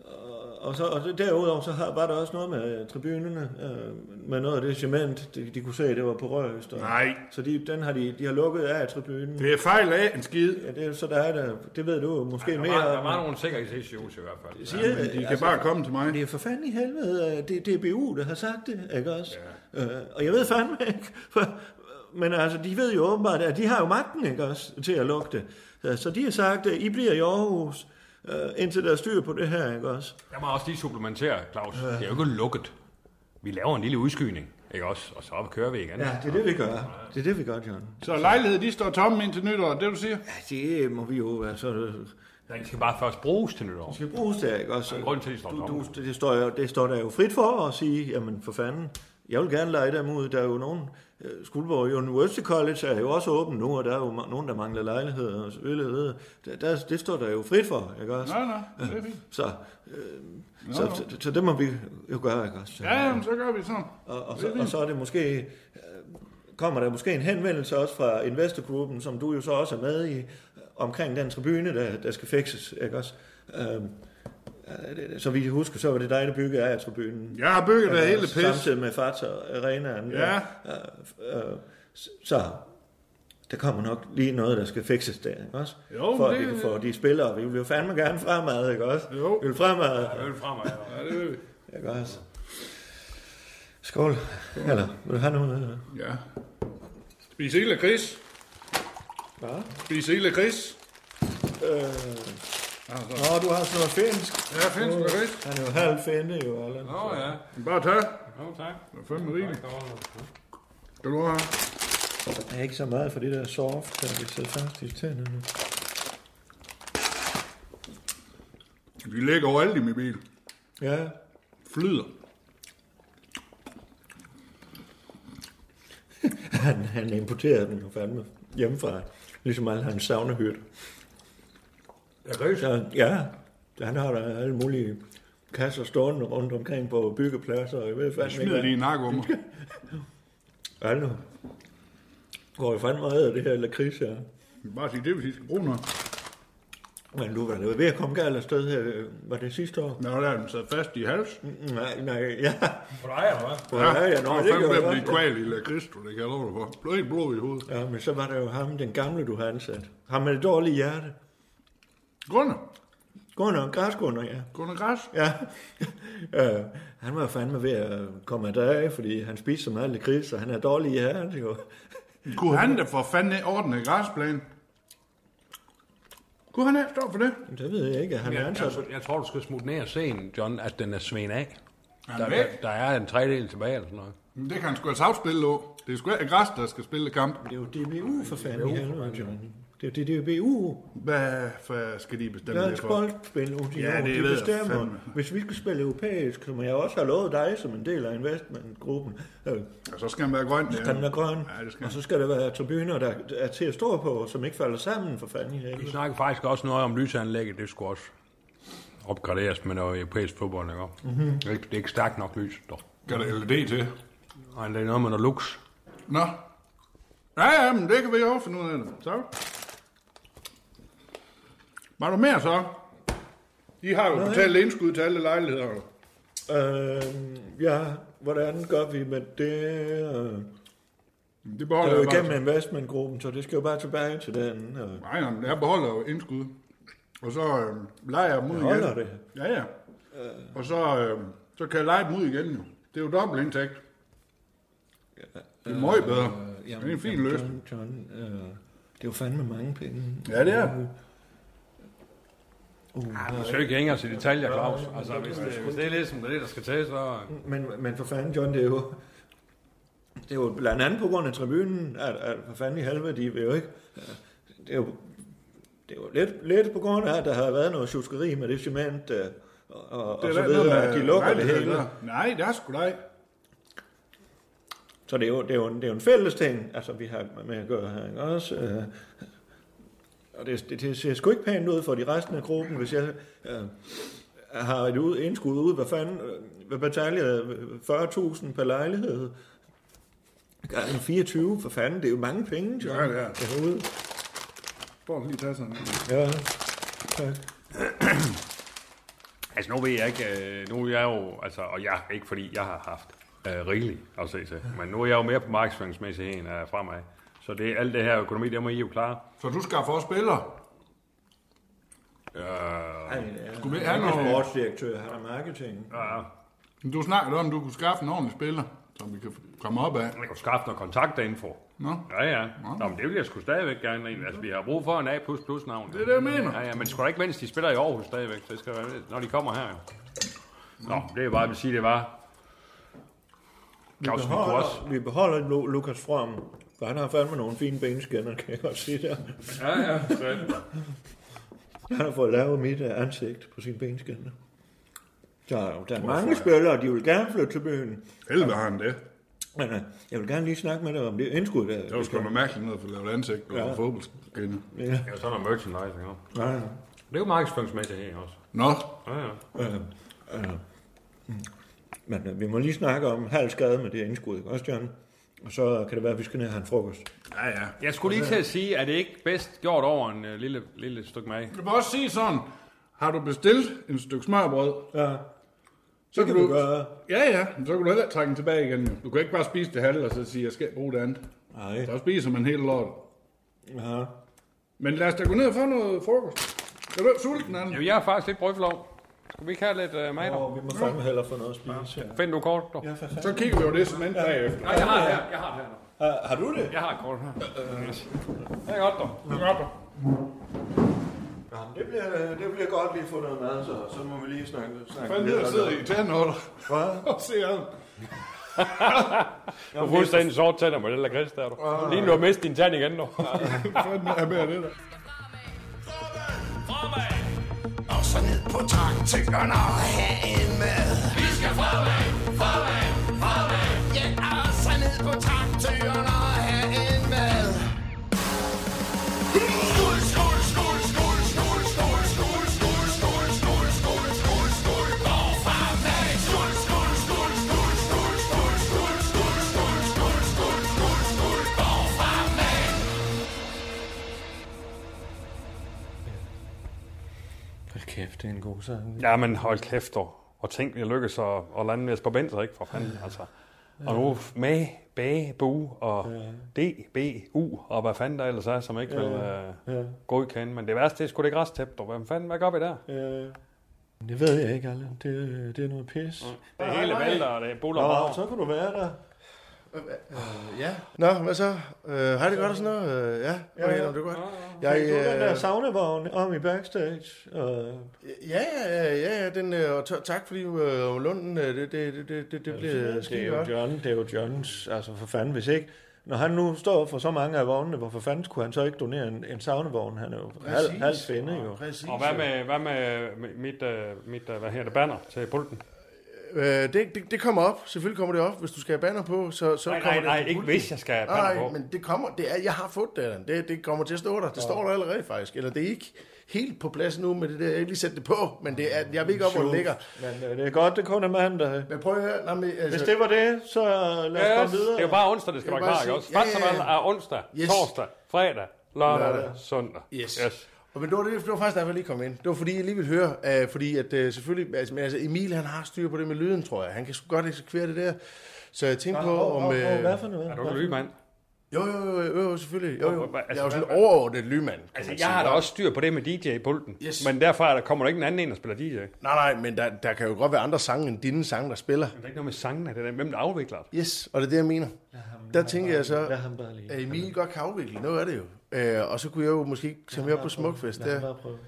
B: og- og, så, og det- derudover så har, var der også noget med øh, tribunerne, øh, med noget af det cement, de, de kunne se, det var på røst. Og,
G: Nej,
B: Så de, den har de, de har lukket af tribunen.
G: det er fejl af en skid.
B: Ja, det, er- så der er der, det ved du måske
F: Der
B: mere.
F: var, der
B: om.
F: var nogle sikkerhedsissues i hvert fald.
B: Siger,
G: Men de kan bare komme til mig.
B: altså- Det er for fanden i helvede, øh, det er DBU, der har sagt det, ikke også? Ja. Øh, og jeg ved fandme ikke, for, men altså, de ved jo åbenbart, at de har jo magten, ikke også, til at lukke det. Øh, Så de har sagt, at I bliver i Aarhus, øh, indtil der er styr på det her, ikke også?
F: Jeg må også lige supplementere, Claus. Det er jo ikke lukket. Vi laver en lille udskydning, ikke også? Og så kører vi igen.
B: Ja, det er det, vi gør. Det er det, vi gør, John.
G: Så lejligheden, de står tomme indtil nytår, det er det, du siger?
B: Ja, det må vi jo være så...
F: Den skal bare først bruges til nytår.
B: Det skal bruges der, ikke også?
F: grund til, at de står
B: du,
F: tomme.
B: du, det, står jo, det står der jo frit for at sige, jamen for fanden, jeg vil gerne lege dem ud. Der er jo nogen, øh, Skuldborg University College er jo også åben nu, og der er jo ma- nogen, der mangler lejligheder og så videre. Der, der, det står der jo frit for, ikke også?
G: Nej, nej, det er fint.
B: Så, øh, så, så, så, det må vi jo gøre, ikke også? Så,
G: Ja, jamen, så gør vi sådan.
B: og, og, så, og så er det måske, øh, kommer der måske en henvendelse også fra investorgruppen, som du jo så også er med i, øh, omkring den tribune, der, der skal fikses, ikke også? Øhm, øh, det- så vi kan huske, så var det dig, der byggede af tribunen.
G: Jeg har bygget det hele pis.
B: Samtidig med Fata Arenaen.
G: Ja.
B: Øh, øh, s- så der kommer nok lige noget, der skal fikses der, ikke også?
G: Jo,
B: for,
G: men
B: at vi
G: det-
B: kan få de spillere. Vi vil jo fandme gerne fremad, ikke også?
G: Jo.
B: Vi vil fremad,
F: Øl fremad.
G: Ja, det vil vi.
B: ikke også? altså. Skål. Eller, vil du have noget? Eller?
G: Ja. Spis hele gris.
B: Hvad?
G: Spis hele gris.
B: Øh. Nå, du har sådan noget finsk.
G: Ja, findes du gris?
B: Han er jo halv finde, jo, Allan.
F: Nå ja.
G: Bare tag.
F: Nå, tak.
G: Det er fandme rigeligt. Skal du have?
B: Jeg er ikke så meget for det der soft, der vi sidder fast i tænderne nu.
G: De ligger overalt i min bil.
B: Ja.
G: Flyder.
B: Han, han importerede den jo fandme hjemmefra. Ligesom alle hans savnehyrte. Ja, gøs. Ja, han har da alle mulige kasser stående rundt omkring på byggepladser. og Jeg ved
G: Jeg
B: fandme
G: smider lige en nakke om mig.
B: Allan går jo fandme meget af det her lakrids her.
G: Bare sig det, hvis I skal bruge noget.
B: Men du var da ved at komme galt afsted her. øh, Var det sidste år?
G: Nå, der er den sat fast i halsen.
B: Nej, nej, ja.
F: For dig, eller hvad?
B: Ja, ja, ja,
G: det
B: nå,
G: var
B: det
G: fandme ved
B: gjorde
G: at
B: jeg
G: blive
B: godt.
G: kval i La Cristo, det kan jeg love dig for. Blev helt blod i hovedet.
B: Ja, men så var der jo ham, den gamle, du har ansat. Ham med det dårlige hjerte.
G: Gunnar.
B: Gunnar, græskunder, ja.
G: Gunnar Græs.
B: Ja, øh, han var fandme ved at komme af dage, fordi han spiste så meget lakrids, og han er dårlig i hjerte, jo.
G: Kunne han da for fanden ordne græsplænen? Kunne han ikke stå for det?
B: Men Det ved jeg ikke, at han er
F: Jeg,
B: ansat.
G: altså-
F: jeg, jeg tror, du skal smutte ned og se den, John, at den er sven af.
G: Han
F: Der,
G: er væk.
F: der, der er en tredjedel tilbage eller sådan noget.
G: Men Det kan han sgu altså afspille på. Det er sgu ikke græs, der skal spille kamp.
B: Det er jo DBU for fanden i helvede, John. Det er jo DBU,
G: Hvad for skal de bestemme det
B: Dansk
G: for?
B: Boldspil, Union,
G: Ja, det
B: de
G: ved jeg
B: bestemmer.
G: fandme.
B: Hvis vi skal spille europæisk, som jeg også har lovet dig som en del af investmentgruppen, øh,
G: Og så skal han være grøn.
B: Kan den være grøn?
G: Ja, det skal
B: og så skal der være tribuner, der er til at stå på, som ikke falder sammen for fanden i
F: Vi
B: helvede.
F: snakkede faktisk også noget om lysanlægget. Det skulle også opgraderes med noget europæisk fodbold, ikke? Mm-hmm. Det, er ikke- det er ikke stærkt nok lys, dog.
G: Kan der LED til?
F: Og det er noget med noget lux.
G: Nå. Ja, ja, men det kan vi jo finde ud af. det. Så. Var der mere så? De har jo betalt indskud til alle lejligheder.
B: Øh, ja, hvordan gør vi med det? Øh,
G: Det
B: Det
G: beholder
B: er jo
G: jeg bare.
B: igennem investmentgruppen, så det skal jo bare tilbage til den. øh.
G: Nej, nej, men jeg beholder jo indskud. Og så øh, leger jeg dem ud igen.
B: holder det.
G: Ja, ja. Og så, øh, så kan jeg lege dem ud igen jo. Det er jo dobbelt indtægt. Det er meget bedre.
B: Øh,
G: det er en fin løsning.
B: John, John, øh, det er jo fandme mange penge. Øh,
G: Ja, det er.
C: Du skal jo ikke ringe os i detaljer, Claus. Altså, hvis det, hvis det er ligesom det, der skal til, så...
B: Men, men for fanden, John, det er jo... Det er jo blandt andet på grund af tribunen, at, at for fanden i helvede, de vil jo ikke... Det er jo, det er jo lidt, lidt på grund af, at der har været noget tjuskeri med det cement, øh, og, og, og
G: Det
B: så
G: der
B: videre,
G: noget
B: at de
G: med
B: lukker det
G: lejligheder
B: hele.
G: der. Nej, det er sgu da ikke.
B: Så det er jo, det er jo, en, det er jo en fælles ting, altså vi har med at gøre her, ikke også? Øh, og det, det, det ser sgu ikke pænt ud for de resten af gruppen, hvis jeg øh, har et ud, indskud ud, hvad fanden, øh, hvad betaler jeg? 40.000 per lejlighed? Gange 24, for fanden, det er jo mange penge, John.
G: Ja, det er det.
B: Derude.
G: Prøv lige at tage sådan en.
B: Ja, tak.
C: Altså, nu ved jeg ikke... øh, Nu er jeg jo... Altså, og jeg ikke, fordi jeg har haft øh, rigeligt at se til. Men nu er jeg jo mere på markedsføringsmæssigheden øh, fremad. Så det, alt det her økonomi, det må I jo klare.
G: Så du skaffer også spillere.
B: Ej, ja.
G: Skulle vi ikke have
B: Han er
G: noget?
B: sportsdirektør, han er marketing.
G: Men Du snakkede om, at du kunne skaffe en ordentlig spiller, som vi kan komme op af.
C: Jeg kan skaffe noget kontaktinfo.
G: Nå?
C: Ja, ja. Nå, men det vil jeg sgu stadigvæk gerne. egentlig. Altså, vi har brug for en A++-navn.
G: Det er det, jeg mener.
C: Ja, ja, men sgu da ikke, mens de spiller i Aarhus stadigvæk. Det skal være, når de kommer her, jo. Nå, det er bare, jeg vil sige, det var... Claus, vi kunne også...
B: Beholder, vi beholder Lu- Lukas From, for han har fandme nogle fine benskinner, kan jeg godt sige der.
C: Ja, ja, så-
B: Han har fået lavet mit øh, ansigt på sine benskinner. Der er, jo- der er mange spillere, de vil gerne flytte til byen.
G: Helvede har han det.
B: Men øh, jeg vil gerne lige snakke med dig om det indskud der.
G: Det var sgu da mærkeligt noget at få lavet ansigt på ja. fodboldskinne.
C: Det er jo sådan noget merchandising også.
B: Ja, ja.
C: Det er jo markedsføringsmæssigt her også.
G: Nå,
C: Ja, ja.
B: Øh, øh, mm. Men øh, vi må lige snakke om halv skade med det indskud, ikke også, John? Og så kan det være, at vi skal ned og have en frokost.
G: ja ja.
C: Jeg skulle lige til at sige, er det ikke bedst gjort over en øh, lille, lille stykke mad?
G: Du kan også sige sådan, har du bestilt en stykke smørbrød,
B: Ja,
G: så
B: det kan vi gøre.
G: Ja, ja, men så kan du heller ikke trække den tilbage igen. jo. Du kan ikke bare spise det halve, og så sige, jeg skal ikke bruge det andet.
B: Nej.
G: Så spiser man hele lortet.
B: Ja.
G: Men lad os da gå ned og få noget frokost. Er du ikke sulten, Anne?
C: Jamen, jeg har faktisk lidt brødflov. Skal vi ikke have lidt uh, mad? dog?
B: Og vi må fandme hellere få noget at spise. Ja.
C: Find du kort, dog.
G: Så kigger vi jo det som endt bagefter.
C: Nej, jeg har det her. Jeg har det her.
B: Har, har du det?
C: Jeg har et kort her.
H: Øh,
C: Det er godt, dog.
G: Det er godt, du.
B: Jamen, det bliver, øh, det bliver godt lige at få noget mad, så, så må vi lige snakke, snakke
G: Fanden ned og sidder i tændhåller
B: Hvad?
G: og ser ad.
C: Du får fuldstændig sort tænder med det der gris, der er du.
H: Øh.
C: Lige nu har mistet din tand igen, dog.
G: Fanden er med det der.
I: Og så ned på taktikkerne og have en med. Vi skal fremad, fremad, fremad. Ja, og så ned på taktikkerne og have en med. Skål, skål, skål, skål, skål, skål, skål, skål, skål, skål, skål, skål, skål. Gå fremad. Skål, skål, skål, skål, skål, skål, skål, skål, skål, skål, skål, skål, skål. Gå fremad.
B: Hold kæft, det er en god sang.
C: Ja, men hold kæft, dog. Og tænk, jeg lykkes at, at lande Jesper Benzer, ikke? For fanden, altså. Og nu med, bag, bu og D, B, U og hvad fanden der ellers er, som ikke vil øh, godkende. Men det værste, det er sgu det græstæppe, dog. Hvad fanden, hvad gør vi der?
B: Øh, det ved jeg ikke, Allan. Det, øh, det er noget pis.
C: Det hele vælter, og det buller
B: Nå,
C: over.
B: så kunne du være der.
H: Øh, Nå, hvad så? Øh, har I det godt og sådan noget? Øh, ja, okay, ja. Nå, det er godt. Jeg,
B: Fik du den der
H: øh,
B: saunavogn om i backstage? Øh,
H: ja, ja, ja, ja, ja, den, øh, og t- tak fordi øh, om Lunden, øh, det, det, det, det, det, det bliver
B: det er
H: skide
B: jo
H: godt.
B: John, det er jo Johns, altså for fanden, hvis ikke. Når han nu står for så mange af vognene, hvorfor fanden skulle han så ikke donere en, en saunavogn? Han er jo halv,
H: Præcis.
B: halv finde, jo.
H: Præcis.
C: Og hvad med, hvad med mit, øh, mit øh, hvad hedder det, banner til pulten?
H: Øh, det, det, det kommer op, selvfølgelig kommer det op, hvis du skal have banner på, så, så
C: Nej, nej,
H: kommer
C: nej,
H: det.
C: ikke hvis jeg skal have banner
H: Nej,
C: på.
H: men det kommer, det er, jeg har fået det, Allan. det, det kommer til at stå der, det står der allerede faktisk, eller det er ikke helt på plads nu med det der, jeg har ikke lige sat det på, men det er, jeg ved ikke op, hvor det ligger.
B: Men øh, det er godt, det kun er mandag.
H: Men prøv at høre, nej, men,
B: Hvis
H: altså,
B: det var det, så lad os
C: Yes,
B: komme videre.
C: det er jo bare onsdag, det skal
H: Jeg
C: være
H: vil
C: klar,
H: bare
C: ikke også?
H: sige- ja, ja, ja.
C: Fastelavn er ah, onsdag,
H: Yes.
C: torsdag, fredag, lørdag,
H: Lørdag.
C: søndag.
H: Yes. yes. Og men det var, det, det var faktisk derfor, jeg lige kom ind. Det var fordi, jeg lige ville høre, øh, fordi at øh, selvfølgelig, altså, men, altså Emil han har styr på det med lyden, tror jeg. Han kan sgu godt eksekvere det der. Så jeg tænkte på, om...
B: Åh, åh, åh,
H: Øh,
B: Hvad for noget?
C: Er du en lydmand?
H: Jo, jo, jo, jo, selvfølgelig. Jo, jo.
C: Altså,
H: Jeg er jo sådan
C: hvad-
H: overordnet lymand. kan
C: Altså,
H: man
C: jeg
H: sige.
C: har da også styr på det med DJ-pulten.
H: Yes.
C: Men derfra er der kommer der ikke en anden en, der spiller DJ. Det er
H: Nej, nej, men der, der kan jo godt være andre sange end dine sange, der spiller.
C: ikke noget med sangene, det er hvem der afvikler det.
H: Yes, og det er det, jeg mener. Der tænker jeg så,
B: Lad ham bare lige.
H: at Emil godt kan afvikle. Noget af det jo. Øh, og så kunne jeg jo måske tage med op på Smukfest.
B: Lad ham
H: Der.
B: bare prøve.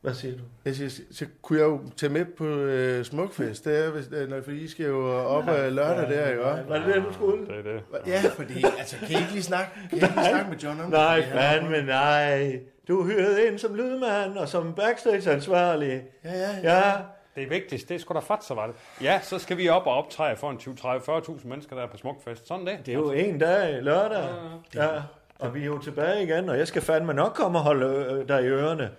B: Hvad siger du?
H: Jeg siger, så kunne jeg jo tage med på øh, Smukfest, der, hvis, øh, når, fordi I skal jo op øh, lørdag der, ikke også?
B: Var det det, du skulle?
C: Det er det.
H: Ja, fordi, altså, kan I ikke lige snakke, kan I ikke lige snakke med John om
B: Nej,
H: det?
B: fandme nej. Du er hyret ind som lydmand og som backstage-ansvarlig.
H: Ja, ja, ja.
B: Ja,
C: Det vigtigste, det er sgu da fat, så var det. Ja, så skal vi op og optræde for en 20, 30, 40.000 mennesker, der er på Smukfest. Sådan det.
B: det er jo en dag lørdag. Ja, og vi er jo tilbage igen, og jeg skal fandme nok komme og holde øh, dig i ørerne.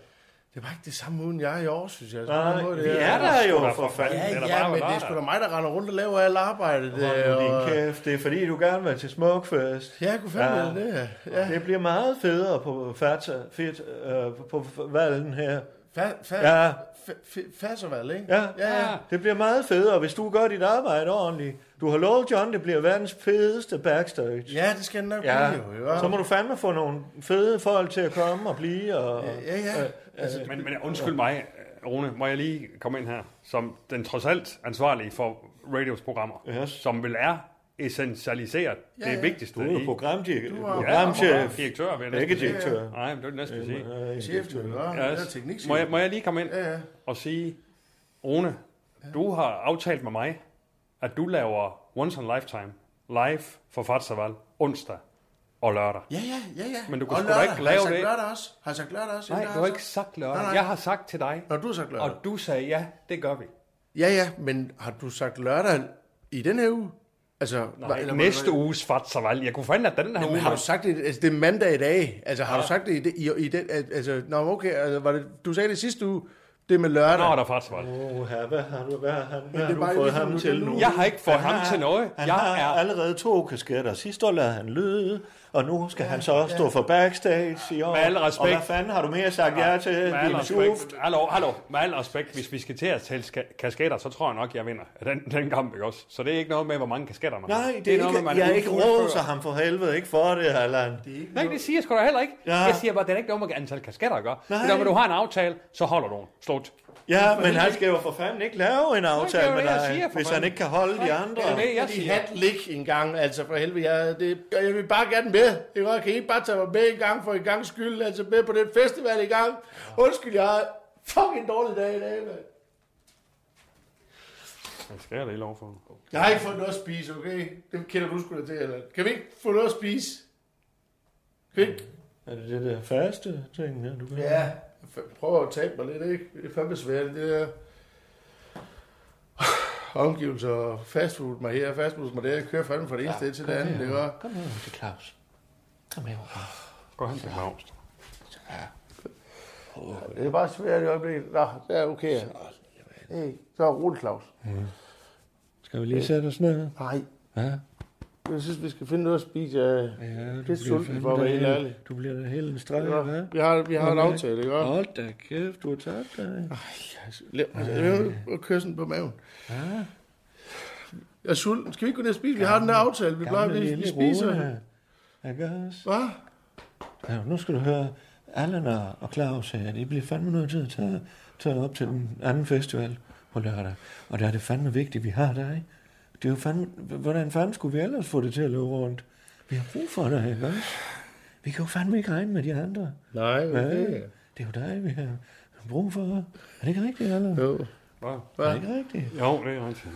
H: Det var ikke det samme uden jeg er i år, synes jeg. Så på
B: Nej,
H: den måde,
B: vi er
H: ja,
B: der jo for fanden.
C: Det er
H: ja,
C: da
H: ja,
C: bare
H: men det er
C: lørdag.
H: sgu da mig, der render rundt og laver alt arbejdet. øh,
B: Hold nu din
H: og...
B: kæft, det er fordi, du gerne vil til Smukfest.
H: Ja, jeg kunne fandme
B: Ja.
H: ja. det, ja.
B: Ja. Det bliver meget federe på Fata, fedt, øh, på f- valgen her.
H: Fa- fa- ja.
B: Ja,
H: Fasservald, ikke?
B: ja,
H: Ja, ja.
B: det bliver meget federe, hvis du gør dit arbejde ordentligt. Du har lovet John, det bliver verdens fedeste backstage.
H: Ja, det skal den nok
B: Ja,
H: blive, jo. ikke?
B: så må du fandme få nogle fede folk til at komme og blive. Og,
H: Ja, ja.
C: Men, men undskyld mig, Rune, må jeg lige komme ind her, som den trods alt ansvarlige for radios programmer,
B: Yes.
C: som vil er essentialiseret ja, det vigtigste.
B: du er
C: i-
B: programdirektør.
C: ja,
B: Programchef.
C: direktør, vil jeg
B: Ikke
C: næsten sige.
B: direktør.
C: Nej, men det er det næsten sige.
B: Øh,
H: Chef, du er
C: Ja,
H: ja,
C: altså,
H: teknik.
C: må, jeg, må jeg lige komme ind
H: Ja, ja.
C: og sige, Rune, du har aftalt med mig, at du laver Once in a Lifetime live for Fatsaval onsdag og lørdag.
H: Ja, ja, ja, ja.
C: Men du kan
H: Og
C: sgu da
H: lørdag.
C: ikke lave
H: Har jeg
C: det.
H: sagt lørdag også? Har jeg sagt lørdag også?
C: Nej,
H: Ja,
C: du
H: det
C: har
H: jeg
C: ikke
H: sagt.
C: sagt lørdag.
H: Nej, nej.
C: Jeg har sagt til dig,
H: Nå, du har sagt lørdag.
C: og du sagde, ja, det gør vi.
H: Ja, ja, men har du sagt lørdag i den her uge? Altså,
C: Nej, eller næste uges Fatsaval. Jeg kunne fandme, at den her uge...
H: Men har du
C: mand.
H: sagt det, altså det er mandag i dag, altså har du sagt det i, i, i den, al- altså, nå okay, altså, var det, du sagde det sidste uge, det med lørdag.
C: Nå, der er Fatsaval.
B: Oha, hvad har du, hvad har, hvad
H: er
B: har du
H: bare
B: fået
H: ligesom
B: ham
H: nu,
B: til
H: det er
B: nu?
H: nu.
C: Jeg har ikke fået ham
B: har-
C: til noget.
B: Han
C: Jeg
B: har
C: er-
B: allerede to kasketter. Sidste år lader han lyde, og nu skal han så også stå for backstage i år.
C: Med al
B: Og
C: respekt.
B: hvad fanden har du mere sagt ja til?
C: Med al
B: Din schuft.
C: respekt, hallo, hallo, med al respekt, hvis vi skal til at tælle ska- kasketter, så tror jeg nok, jeg vinder den, den kamp, ikke også? Så det er ikke noget med, hvor mange kasketter man har.
B: Nej, det er,
C: noget
B: ikke,
C: med, man
B: jeg er ikke
C: udfører.
B: roser ham for helvede, ikke for det, Allan.
C: Nej, det siger jeg sgu da heller ikke.
B: Ja.
C: Ja. Jeg siger bare, at det er ikke noget med antal kasketter at gøre. Det
B: Nej.
C: er, når du har en aftale, så holder du den. Slut.
B: Ja, men han skal jo for fanden ikke lave en
C: det
B: aftale
C: er jo
B: med
C: det, jeg
B: dig,
C: siger, for
B: hvis han
C: fanden.
B: ikke kan holde de andre.
C: Det er det, jeg
H: de
C: siger.
H: hat lig en gang, altså for helvede, jeg, det, og jeg vil bare gerne med. Det er godt, kan I ikke bare tage mig med en gang for en gang skyld, altså med på den festival i gang. Undskyld, jeg har fucking dårlig dag i dag, mand.
C: Jeg skal jeg da lov for.
H: Jeg har ikke fået noget at spise, okay? Det kender du sgu da til, eller? Kan vi ikke få noget at spise? Kan vi ikke?
B: Er det det der faste ting, her, du kan?
H: Ja, f- prøv at tabe mig lidt, ikke? Det er fandme svært, det der omgivelser og fastfood mig her, fastfood mig der. Jeg kører fandme fra det ene ja, sted til det andet, det var.
B: Kom her til Claus. Kom her.
C: Gå hen til Claus.
H: Det er bare svært i øjeblikket. Nå, det er okay. Hey, så er roligt, Claus.
B: Skal vi lige sætte os ned?
H: Nej,
B: Ja.
H: jeg synes, vi skal finde noget at spise. øh.
B: Ja, du
H: Det er sulten,
B: fandme
H: for at være helt
B: derhen.
H: ærlig.
B: Du bliver da helt en streg,
H: Nå,
B: hva'?
H: Vi har, vi har en
B: Nå, men-
H: aftale, ikke? også?
B: Hold da kæft, du har tabt dig.
H: Lav og køre sådan på maven. Jeg er sulten. Skal vi ikke gå ned og spise? Vi har den der aftale. Vi plejer, vi, vi spiser.
B: Ikke også?
H: Hvad?
B: Ja, nu skal du høre, Allan og- og Claus her, de bliver fandme nødt til at tage, tage op til den anden festival på lørdag. Og der er det fandme vigtigt, vi har dig. Det er jo fandme, hvordan fanden skulle vi ellers få det til at løbe rundt? Vi har brug for dig, ikke også? Vi kan jo fandme ikke regne med de andre.
H: Nej, okay.
B: Det er jo dig, vi har brug for. Er det ikke rigtigt, Allan?
H: Jo.
B: Er det ikke rigtigt?
C: Jo, det er rigtigt.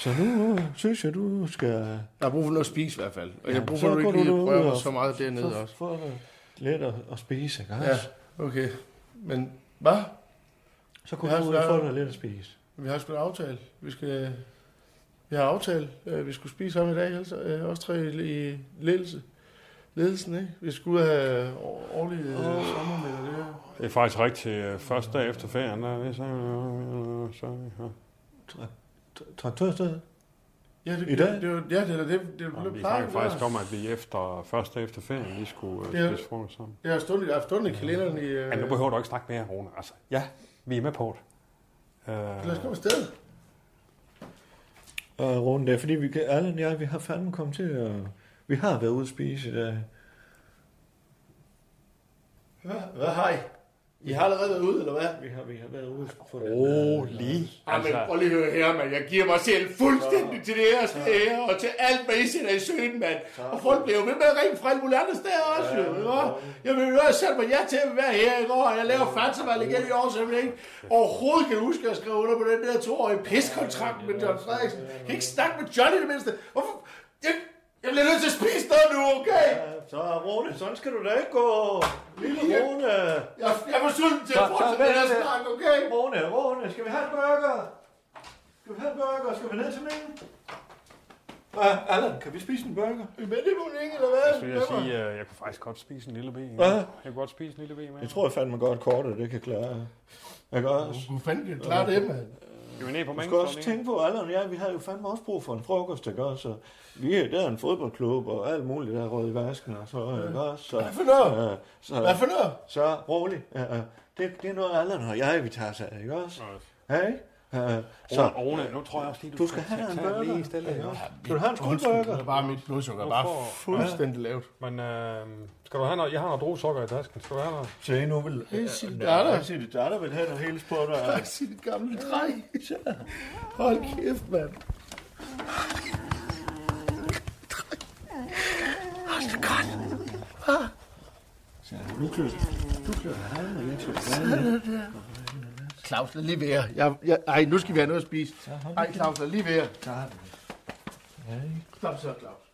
B: Så nu øh, synes jeg, du skal
H: Der er brug for noget at spise i hvert fald. Og jeg har brug
B: så
H: for, at du
B: går
H: ikke
B: du
H: lige
B: derud
H: prøver
B: og-
H: så meget dernede
B: få,
H: også.
B: få noget let at, at spise, ikke også?
H: Ja, okay. Men hvad?
B: Så kunne
H: Ja,
B: du
H: så-
B: få noget lidt at spise.
H: Vi har sgu en aftale. Vi skal... Vi har aftalt, øh, vi skulle spise sammen i dag, altså, øh, os tre i i ledelse. ledelsen, ikke? Vi skulle ud og have år- årlige øh, sommermiddag, det her.
C: Det er faktisk rigtigt. øh, Første dag efter ferien, der er det så... så ja.
B: Tra- Traktørstedet?
H: Ja, det,
B: I dag?
H: Det, det, var- ja, det, er da det, det, det
C: Og
H: blev
C: vi
H: plejer
C: snakker
H: at
C: faktisk
H: være.
C: om, at vi efter, først efter ferien, vi skulle
H: Det er-
C: øh, spise frokost sammen.
H: Jeg har stået, jeg har stået i kalenderen i... Øh,
C: Ja, nu behøver du ikke snakke mere, Rune. Altså, ja, vi er med på det. Øh,
H: lad os komme afsted.
B: Og Rune, det er fordi, vi kan, Allan og jeg, vi har fandme kommet til at... Vi har været ude at spise i dag.
H: Hvad, hvad har I? I har allerede været ude, eller hvad?
B: Vi har, vi har været ude for den. øh,
F: Rolig.
H: Ej, men prøv lige at høre her, mand. Jeg giver mig selv fuldstændig til deres ære, og til alt, hvad I sætter i søen, mand. Og folk bliver jo ved med at ringe fra alle mulige andre steder også, jo. ikke også? Jeg vil høre selv, hvor jeg til at være her i går, og jeg laver fatsevalg igen i år, så jeg ikke overhovedet kan huske at skrive under på den der toårige piskontrakt med John Frederiksen. Jeg kan ikke snakke med Johnny i det mindste. Hvorfor? Jeg, jeg bliver nødt til at spise noget nu, okay?
B: Så Rune, sådan skal du da ikke gå. Lille Rune.
H: Jeg, jeg var sulten til at fortsætte den her snak, okay?
B: Rune, Rune, skal vi have en burger? Skal vi have en burger? Skal vi ned til minen? Uh, Allan, kan vi spise en burger?
H: Men det må ikke, eller hvad?
F: Så vil jeg sige, at jeg kunne faktisk godt spise en lille ben. Jeg kunne godt spise en lille ben med.
B: Jeg tror jeg fandme godt kortet, det kan klare. Jeg kan også.
H: Hvor fanden kan klare det, mand?
F: Skal vi ned på
B: Du skal
F: mængden?
B: også tænke på, Allan og jeg, vi havde jo fandme også brug for en frokost, ikke også? Og Vi er der er en fodboldklub og alt muligt, der er røget i vasken og så, ikke også? Så,
H: Hvad for noget?
B: øh, så,
H: Hvad for noget?
B: Så rolig. Ja, ja. det, det er noget, Allan og jeg, vi tager sig af, ikke også? Ja, ikke? Ja,
F: Så.
B: så
F: Rune, nu tror jeg også lige, du,
B: du skal have dig en
F: tage den lige
B: burger.
F: stille.
B: ikke
F: Ja.
B: også? Skal du have en skuldburger?
H: Det er bare mit blodsukker, er bare
F: Hvorfor?
H: fuldstændig lavt.
F: Men øh, skal du have noget? Jeg har noget drosukker i tasken. Skal du have noget?
B: Se, nu øh, vil...
H: sit datter.
B: Ja, Sit datter vil have noget hele spurgt.
H: Tak til dit gamle dreng. Hold kæft, mand. Claus, lad lige være. Jeg, jeg, ej, nu skal vi have noget at spise. Ej, Claus, lad lige være. Stop så, Claus.